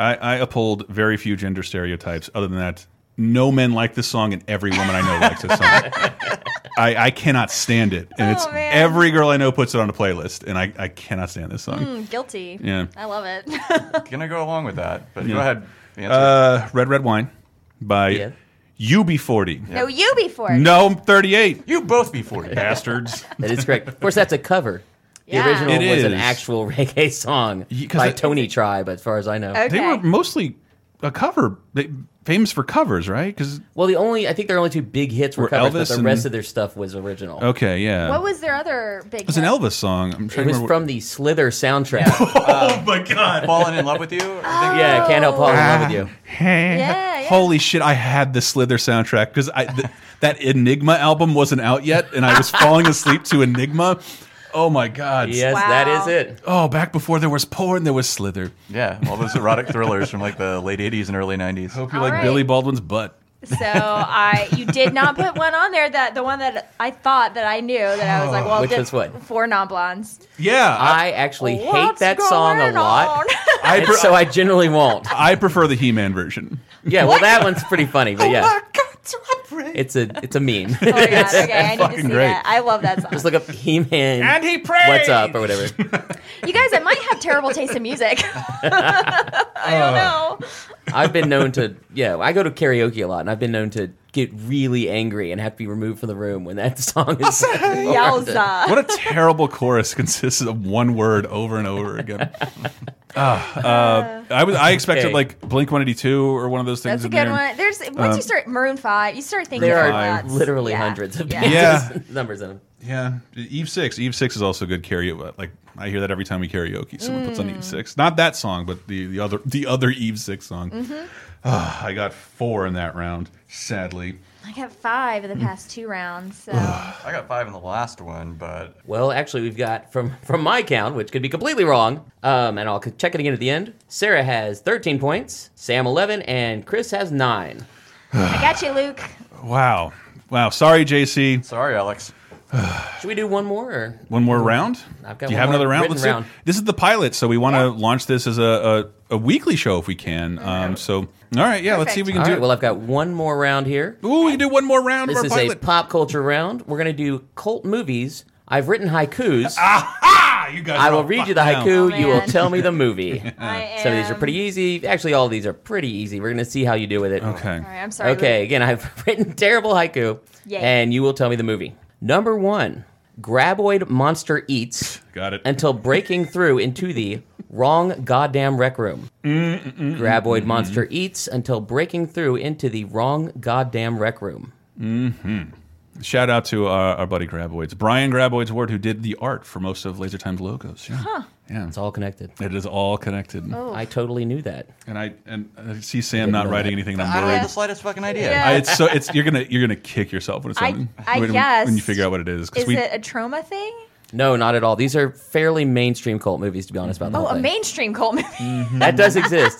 A: I, I uphold very few gender stereotypes. Other than that, no men like this song, and every woman I know likes this song. I, I cannot stand it, and it's
C: Oh, man.
A: every girl I know puts it on a playlist, and I, I cannot stand this song.
C: Mm, guilty.
A: Yeah.
C: I love it.
D: Gonna go along with that, but
A: Yeah.
D: go ahead. Answer.
A: Uh, Red Red Wine by
B: Yeah.
A: UB40.
C: no, you before.
A: No, I'm 38.
D: you both be 40.
A: Bastards.
B: That is correct. Of course, that's a cover.
C: Yeah.
B: The original
A: It
B: was an
A: is.
B: actual reggae song
A: Ye- 'cause
B: by
A: it-
B: Tony Tribe, as far as I know.
C: Okay.
A: They were mostly a cover, they, famous for covers, right? Because
B: Well, the only I think their only two big hits were,
A: Were
B: covers, but
A: Elvis
B: the
A: and-
B: rest of their stuff was original.
A: okay, yeah.
C: What was their other big?
A: it was an Elvis song. I'm trying
B: It
A: to
B: was
A: remember.
B: from uh, the Slither soundtrack.
A: oh my god.
D: Falling in love with you?
C: Uh,
D: I think
B: yeah, can't help falling in love with you.
C: Yeah, yeah.
A: Holy shit! I had the Slither soundtrack because I th that Enigma album wasn't out yet, and I was falling asleep to Enigma. Oh my god!
B: Yes,
C: Wow.
B: that is it.
A: Oh, back before there was porn, there was Slither.
D: yeah, all those erotic thrillers from like the late 80s and early 90s.
A: Hope you
C: All
A: like
C: right.
A: Billy Baldwin's butt.
C: So I, you did not put one on there that the one that I thought that I knew that I was like, well,
B: Which
C: did-
B: was what?
C: Four non blondes.
A: Yeah, I
B: I actually hate that song a lot,
A: I,
C: Oh,
B: and
A: pre-
B: so I generally won't.
A: I prefer the He-Man version.
B: Yeah, well, that one's pretty funny, but yeah, it's a it's a meme.
C: Oh my god! Okay, I need to
A: fucking
C: see
A: great.
C: that. I love that song.
B: Just look up He Man.
A: he prays.
B: What's up or whatever?
C: You guys, I might have terrible taste in music. I don't know.
B: I've been known to yeah. I go to karaoke a lot, and I've been known to get really angry and have to be removed from the room when that song is.
C: Yowza.
A: Oh, What a terrible chorus consists of one word over and over again. Ah, uh, I was I expected
B: Okay.
A: like Blink 182 or one of those things.
C: That's a
A: in
C: good
A: there. Um,
C: one. There's once you start Maroon Five, you start thinking
B: There are
C: about lots.
B: literally
C: Yeah.
B: hundreds of
C: Yeah.
B: pages,
A: Yeah.
B: numbers in them.
A: Yeah, Eve six. Eve six is also good karaoke. Like I hear that every time we karaoke, someone puts on Eve
B: Mm.
A: six. Not that song, but the, the other the other Eve six song.
B: Mm-hmm.
A: Ah, I got four in that round, sadly.
C: I got five in the past two rounds. So
D: I got five in the last one, but
B: Well, actually, we've got from from my count, which could be completely wrong, um, and I'll check it again at the end. Sarah has 13 points, Sam 11, and Chris has nine.
C: I got you, Luke.
A: Wow, wow. Sorry, JC.
D: sorry, Alex.
B: Should we do one more? Or?
A: One more round.
B: I've got
A: Do you
B: one
A: have
B: more
A: another round?
B: written
A: do-
B: round.
A: This is the pilot, so we want to launch this as a, a, a weekly show if we can. Um, so all right, yeah. Let's see if we can
B: All
A: do.
B: right. Well, I've got one more round here.
A: Ooh, we can do one more round
B: This
A: of
B: is
A: our
B: a
A: pilot.
B: pop culture round. We're gonna do cult movies. I've written haikus.
A: Ah, you guys.
B: I
A: are
B: will
A: all
B: read
A: fucked
B: you the
A: now.
B: haiku.
C: Oh,
B: you will
C: man.
B: tell me the movie.
C: I
B: Some of these are
C: am-
B: pretty easy. Actually, all of these are pretty easy. We're gonna see how you do with it.
A: Okay.
C: All right, I'm sorry.
B: Okay,
C: Luke.
B: again, I've written terrible haiku,
C: Yay.
B: and you will tell me the movie. Number one, graboid monster eats
A: Got it.
B: until breaking through into the wrong goddamn rec room. Graboid monster eats until breaking through into the wrong goddamn rec room.
A: Shout out to our, our buddy Graboids, Brian Graboids Ward, who did the art for most of Laser Time's logos. Yeah, yeah.
B: It's all connected.
A: It is all connected.
C: Oh.
B: I totally knew that.
A: And I and I see Sam not
B: know
A: writing
B: that.
A: anything, and
D: I
A: I'm
D: don't have
A: worried.
D: the slightest fucking idea.
C: Yeah.
A: I, it's so it's you're gonna you're gonna kick yourself when it's
C: I-
A: done-
C: I
A: when, when you
C: guessed.
A: figure out what it is. 'cause
C: Is
A: we-
C: it a trauma thing?
B: No, not at all. These are fairly mainstream cult movies, to be honest about the
C: Oh,
B: whole
C: a
B: thing.
A: Mm.
C: mainstream cult movie.
B: That does exist.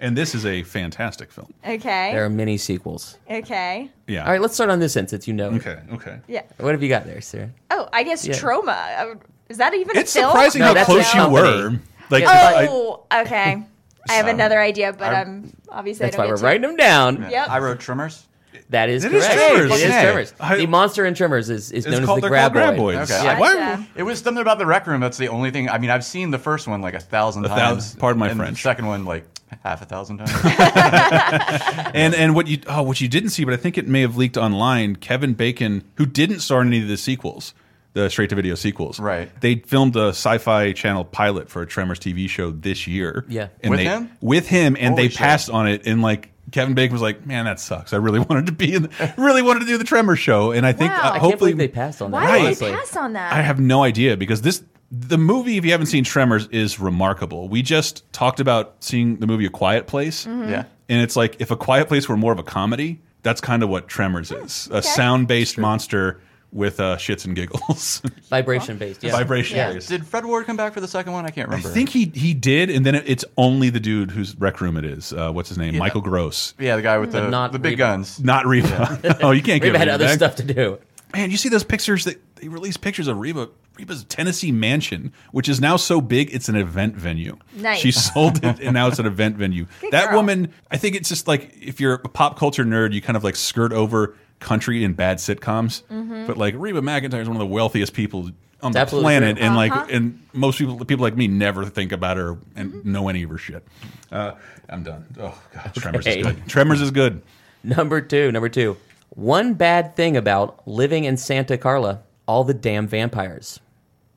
A: And this is a fantastic film.
B: There
C: Okay.
B: are many sequels.
C: Okay.
A: Yeah.
B: All right, let's start on this end since you know. it.
A: Okay. Okay.
C: Yeah.
B: What have you got there, Sarah?
C: Oh, I guess
B: Yeah.
C: trauma. Uh, Is that even
A: It's
C: a film?
A: surprising
B: No,
A: how
B: that's
A: close
B: a
A: you were.
B: company.
A: Like, I-
C: Oh, okay. I have another idea, but
D: I-
C: I'm obviously
B: That's
C: I
B: why
C: don't
B: we're
C: get
B: writing them down.
C: Yep.
D: I wrote Tremors.
B: That is
A: It is
B: correct.
A: Tremors.
B: It is
D: Fucking A.
B: Tremors.
A: I-
B: the monster in Tremors is,
A: it's
B: is known
A: called
B: as the
A: they're called
B: Graboid.
A: Graboids.
D: Okay.
A: Yeah.
C: to.
A: Why,
C: Gotcha.
D: It was something about the rec room. That's the only thing. I mean, I've seen the first one like a thousand
A: A
D: times.
A: thousand- pardon my
D: and
A: French.
D: The second one like half a thousand times.
C: Mm-hmm.
A: and and what you oh what you didn't see, but I think it may have leaked online. Kevin Bacon, who didn't star in any of the sequels, the straight to video sequels,
D: Right.
A: They filmed a Sci-Fi Channel pilot for a Tremors TV show this year.
B: Yeah.
A: and
D: With
A: they,
D: him?
A: with him, and
D: Holy
A: they
D: shit.
A: passed on it. And like Kevin Bacon was like, "Man, that sucks. I really wanted to be in, really wanted to do the Tremors show." And I think
C: Wow.
A: uh,
C: I can't
B: I
A: hopefully
B: can't believe they passed on that.
C: Why did
B: honestly.
C: they pass on that?
A: I have no idea because this the movie. If you haven't seen Tremors, is remarkable. We just talked about seeing the movie A Quiet Place.
C: Mm-hmm.
D: yeah.
A: And it's like if a quiet place were more of a comedy, that's kind of what Tremors is. A sound-based monster with uh, shits and giggles.
B: Vibration based. Yeah.
A: Vibration
B: Yeah.
A: based.
D: Did Fred Ward come back for the second one? I can't
A: I
D: remember.
A: think he he did, and then it, it's only the dude whose rec room it is. Uh, what's his name? Michael Gross.
D: yeah, the guy with the,
B: not
D: the big
B: Reba.
D: guns.
A: Not Reba. oh, you can't give
B: We've had
A: Reba
B: other
A: back.
B: stuff to do.
A: Man, you see those pictures that they released pictures of Reba Reba's Tennessee mansion, which is now so big it's an event venue.
C: Nice.
A: She sold it and now it's an event venue. that
C: girl.
A: woman, I think it's just like if you're a pop culture nerd, you kind of like skirt over country and bad sitcoms.
C: Mm-hmm.
A: But like Reba McIntyre is one of the wealthiest people on the
B: absolutely
A: planet
B: true.
A: and
C: Uh-huh.
A: like and most people people like me never think about her and
C: Mm-hmm.
A: know any of her shit. Uh, I'm done. Oh god, Tremors is
B: Okay.
A: good. Tremors is good.
B: Number two. Number two. One bad thing about living in Santa Carla: all the damn vampires.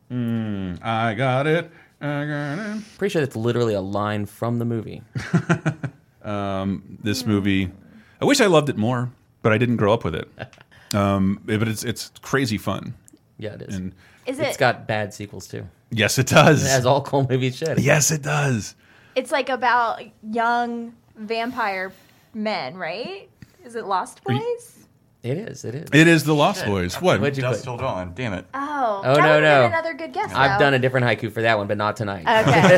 A: I got it. I got it.
B: Pretty sure that's literally a line from the movie.
A: this movie. I wish I loved it more, but I didn't grow up with it. Um, but it's it's crazy fun,
B: Yeah, it is.
A: and
C: Is
B: it's
C: it?
B: got bad sequels too,
A: yes, it does.
B: as all cool movies should.
A: Yes, it does.
C: it's like about young vampire men, right? Is it Lost
A: you-
C: Boys?
B: It is. It is.
A: It is the Lost Boys. What?
B: What'd you
D: Dust
B: put?
D: Till Dawn. Damn it.
C: Oh,
B: Oh,
C: that
B: no,
C: would've
B: no.
C: Been another good guess.
B: I've
C: though.
B: done a different haiku for that one, but not tonight.
C: Okay.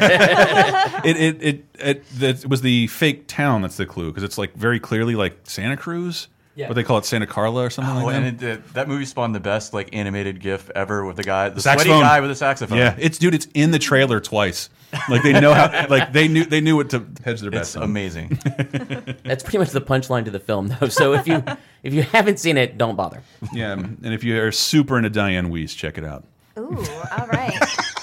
A: It it it, it, that was the fake town. That's the clue because it's like very clearly like Santa Cruz,
B: Yeah.
A: but they call it Santa Carla or something
D: Oh,
A: like that.
D: and it, uh, that movie spawned the best like animated GIF ever with the guy, the
A: Saxophone.
D: sweaty guy with the saxophone.
A: yeah, it's dude. It's in the trailer twice. Like they know how. like they knew they knew what to hedge their bets
D: it's
A: on.
D: amazing.
B: That's pretty much the punchline to the film, though. So if you if you haven't seen it, don't bother.
A: Yeah, and if you are super into Diane Weiss, check it out.
C: Ooh, all right.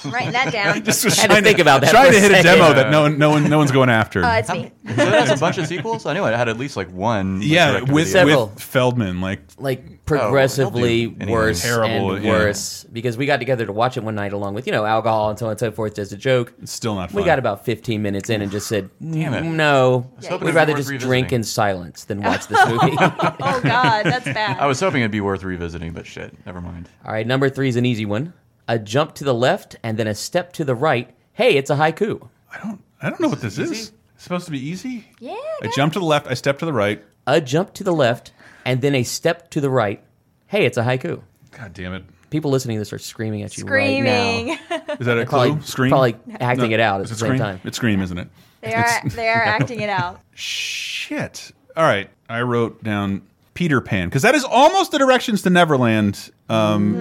C: I'm writing that down.
A: Just was
B: I had to
A: trying
B: think about that
A: Trying
B: for
A: to
B: a
A: hit a
B: second. Uh,
A: demo that no one, no one, no one's going after.
C: Oh, it's me.
D: so it has a bunch of sequels. I knew it had at least like one. like,
A: yeah,
D: direct-to-video.
A: with,
B: Several.
A: with Feldman, like
B: Like progressively
D: they'll do anything.
B: worse
A: Terrible,
B: and
A: yeah.
B: worse because we got together to watch it one night along with you know alcohol and so on and so forth just a joke.
A: still not. Fun.
B: We got about 15 minutes in and just said,
D: Damn it.
B: no,
D: hoping
B: we'd
D: it'd
B: rather
D: be worth
B: just drink
D: revisiting.
B: in silence than watch this movie. All
C: Oh God, that's bad.
D: I was hoping it'd be worth revisiting, but shit, never mind.
B: right, number three is an easy one. A jump to the left and then a step to the right. Hey, it's a haiku.
A: I don't. I don't know what this is. It's supposed to be easy.
C: yeah.
A: I
C: guys.
A: jump to the left. I step to the right.
B: A jump to the left and then a step to the right. Hey, it's a haiku.
A: God damn it!
B: People listening to this are screaming at you right
C: Screaming.
B: now.
A: Is that a clue?
B: Probably,
A: Scream.
B: probably acting
A: No,
B: it out at
A: is
B: the
A: it
B: same
A: scream?
B: time.
A: It's scream, isn't it?
C: They are. They are acting it out.
A: Shit. All right. I wrote down Peter Pan because that is almost the directions to Neverland. Um,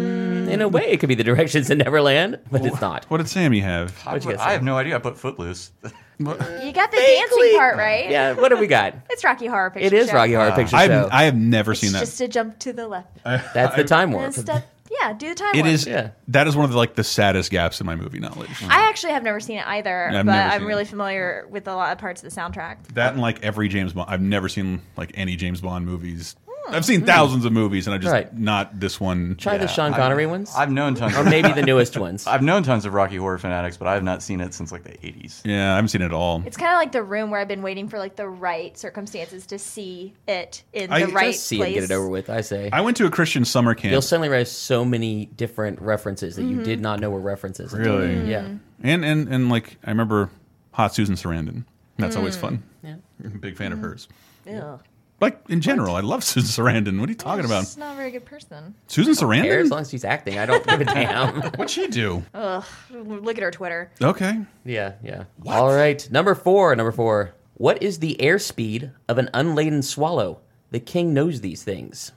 B: In a way, it could be the directions in Neverland, but it's not.
A: what did Sammy have?
D: I,
B: What'd you
D: put-
B: guess,
D: I have no idea. I put Footloose.
C: You got the
B: Vaguely.
C: dancing part right.
B: Yeah, what have we got?
C: It's Rocky Horror Picture
B: It is
C: Show.
B: Rocky
D: Uh,
B: Horror Picture
A: I've,
B: Show.
A: I have never seen
C: It's
A: that.
C: just a jump to the left.
B: That's the time warp.
C: And step. Yeah, do the time.
A: It
C: warp.
A: is.
B: Yeah.
A: That is one of the like the saddest gaps in my movie knowledge.
C: I actually have never seen it either,
A: I've
C: but
A: never
C: I'm
A: seen
C: really
A: it.
C: familiar with a lot of parts of the soundtrack.
A: That and like every James Bond. I've never seen like any James Bond movies. I've seen thousands of movies, and I just
B: Hmm. Right.
A: not this one.
B: Try the Sean Connery ones,
D: I've known tons.
B: or
D: Of,
B: maybe the newest ones.
D: I've known tons of Rocky Horror fanatics, but I have not seen it since like the '80s.
A: Yeah, I haven't seen it at all.
C: It's kind of like the room where I've been waiting for like the right circumstances to see it in
A: I-
C: the
A: Just
C: right
B: Just see
C: place.
B: it and get it over with. I say.
A: I went to a Christian summer camp,
B: You'll suddenly realize so many different references that you did not know were references. until-
A: Really?
B: Hmm. Yeah.
A: and and and like I remember hot Susan Sarandon. That's always
B: Hmm.
A: fun. Yeah, big fan of hers.
C: Ugh.
A: Like in general, I love Susan Sarandon. What are you talking about?
C: She's not a very good person.
A: Susan
B: Care, as
A: Sarandon?
B: long as she's acting, I don't give a damn.
A: What'd she do?
C: Ugh, look at her Twitter.
A: Okay,
B: yeah, yeah. All right, number four. Number four. What is the airspeed of an unladen swallow? The king knows these things.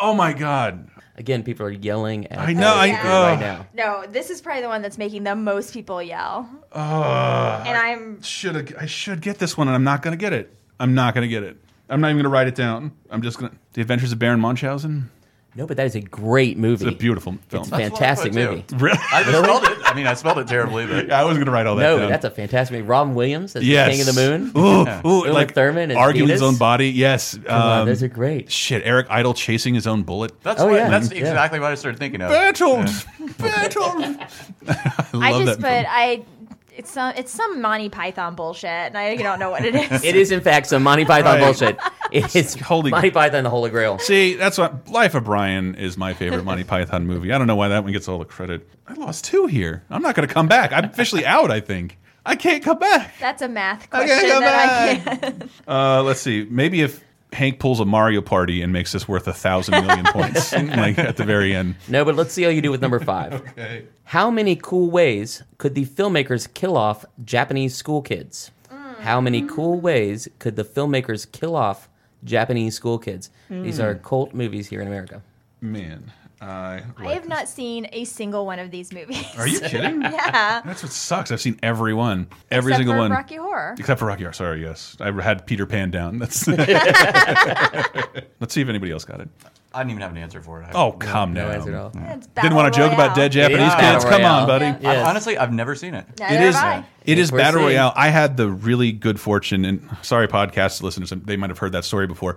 A: Oh my god.
B: Again, people are yelling at
A: I know,
B: the
A: I-
B: speaker
A: oh.
B: right now.
C: No, this is probably the one that's making the most people yell. and I'm
A: Should I should get this one and I'm not going to get it. I'm not going to get it. I'm not even going to write it down. I'm just going to The Adventures of Baron Munchausen.
B: No, but that is a great movie.
A: It's a beautiful film.
B: It's
D: That's what I
B: fantastic
D: put, too.
B: movie.
A: Really?
D: I just spelled it. I mean, I spelled it terribly, but
A: I was going to write all that
B: No,
A: down.
B: but that's a fantastic movie. Robin Williams as
A: um, yes.
B: the King of the Moon.
A: Ooh, ooh,
B: Uma
A: like
B: Thurman as
A: arguing his
B: Venus?
A: own body. Yes.
B: Come on,
A: um,
B: those are great.
A: shit, Eric Idle chasing his own bullet.
D: that's
B: Oh,
D: what,
B: yeah.
D: that's
B: Yeah.
D: exactly what I started thinking of.
A: Battled. Battled. I love
C: I just
A: that.
C: put I it's some it's some Monty Python bullshit and I don't know what it is.
B: It is, in fact, some Monty Python
A: Right.
B: bullshit. It is
A: Holy-
B: Monty Python and the Holy Grail.
A: See, that's what Life of Brian is my favorite Monty Python movie. I don't know why that one gets all the credit. I lost two here. I'm not going to come back. I'm officially out. I think I can't come back.
C: That's a math
A: I
C: question
A: can't come
C: that I
A: back.
C: can't.
A: Uh, let's see. Maybe if Hank pulls a Mario Party and makes this worth a thousand million points, like at the very end.
B: No, but let's see how you do with number five. How many cool ways could the filmmakers kill off Japanese school kids? How many cool ways could the filmmakers kill off Japanese school kids? These are cult movies here in America.
A: Man, I.
C: I have not seen a single one of these movies.
A: Are you kidding?
C: yeah.
A: That's what sucks. I've seen every one, every
C: Except
A: single
C: for
A: one,
C: Rocky Horror.
A: except for Rocky. Horror, Sorry, yes, I had Peter Pan down. That's. let's see if anybody else got it.
D: I didn't even have an answer for it. I-
A: Oh, come
B: No
A: now.
B: answer at all.
C: It's
A: Didn't
C: Battle
A: want to joke about
C: Royale.
A: dead Japanese
D: Battle
A: kids. Come on,
B: Royale.
A: buddy.
C: Yeah.
D: I-
B: Yes.
D: honestly, I've never seen it.
A: It
C: Neither
A: is.
C: have I.
A: It is
B: We're
A: battle
B: seeing.
A: royale. I had the really good fortune, and sorry, podcast listeners, they might have heard that story before.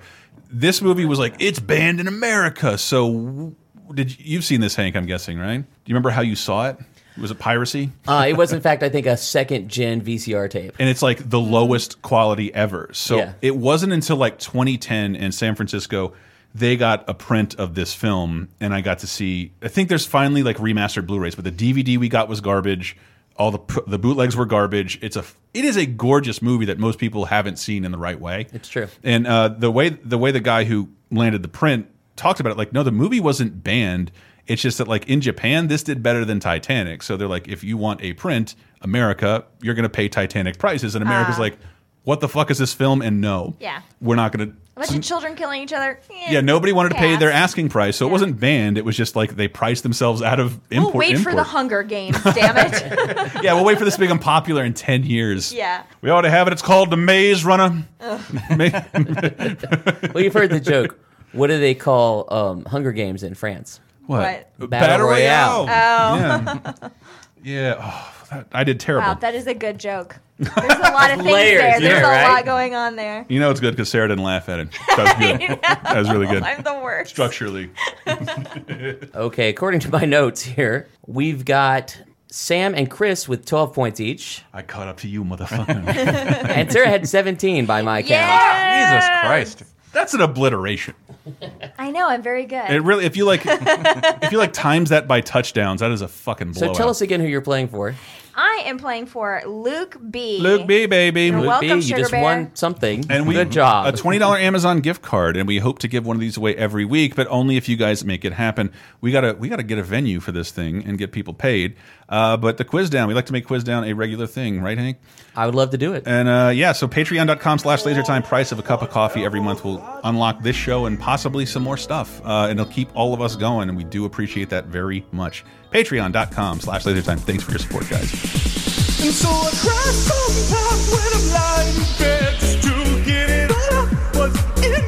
A: This movie was like it's banned in America. So, did you, you've seen this, Hank? I'm guessing, right? Do you remember how you saw it? Was it piracy?
B: Uh, it was, in fact, I think, a second gen VCR tape.
A: and it's like the lowest quality ever. So
B: Mm. Yeah.
A: it wasn't until like 2010 in San Francisco they got a print of this film, and I got to see. I think there's finally like remastered Blu-rays, but the DVD we got was garbage. All the pr- the bootlegs were garbage. It's a it is a gorgeous movie that most people haven't seen in the right way.
B: It's true.
A: And uh, the way the way the guy who landed the print talked about it, like, no, the movie wasn't banned. It's just that like in Japan, this did better than Titanic. So they're like, if you want a print, America, you're gonna pay Titanic prices. And America's like, what the fuck is this film? And no,
C: Ah. Yeah.
A: we're not gonna.
C: A bunch of children killing each other. Eh,
A: yeah, nobody wanted to pay
C: pass.
A: their asking price, so it wasn't banned. It was just like they priced themselves out of import.
C: We'll wait for the
A: import.
C: Hunger Games, damn it.
A: yeah, we'll wait for this to become popular in ten years.
C: Yeah.
A: we ought to have it. It's called the Maze Runner. Ma-
B: Well, you've heard the joke. What do they call um, Hunger Games in France?
A: What?
C: What? Oh.
B: Battle Royale.
A: Yeah. yeah. Oh, that, I did terrible.
C: Wow, that is a good joke. There's a lot of things
B: Layers
C: there. There's
B: there,
C: a
B: right?
C: lot going on there.
A: you know it's good because Sarah didn't laugh at it. That was good. that was really good.
C: I'm the worst.
A: Structurally.
B: Okay, according to my notes here, we've got Sam and Chris with 12 points each,
A: I caught up to you, motherfucker.
B: and Sarah had 17 by my count.
C: Yeah.
D: Jesus Christ.
A: That's an obliteration.
C: I know, I'm very good.
A: It really, if you like, if you like times that by touchdowns, that is a fucking
B: So
A: blowout.
B: tell us again who you're playing for.
C: I am playing for Luke B.
A: Luke B, baby.
C: You're
B: Luke
C: welcome,
B: B, you
C: Sugar
B: just
C: Bear.
B: won something.
A: And we,
B: Good job.
A: A twenty dollar Amazon gift card, and we hope to give one of these away every week, but only if you guys make it happen. We gotta we gotta get a venue for this thing and get people paid. Uh, but the quiz down, we like to make quiz down a regular thing, right, Hank?
B: I would love to do it.
A: And uh, yeah, so patreon.com slash lasertime price of a cup of coffee every month will unlock this show and possibly some more stuff. Uh, and it'll keep all of us going, and we do appreciate that very much. Patreon.com slash lasertime. Thanks for your support, guys.
E: And so I cry sometimes when I'm lying in bed just to get it all out what's in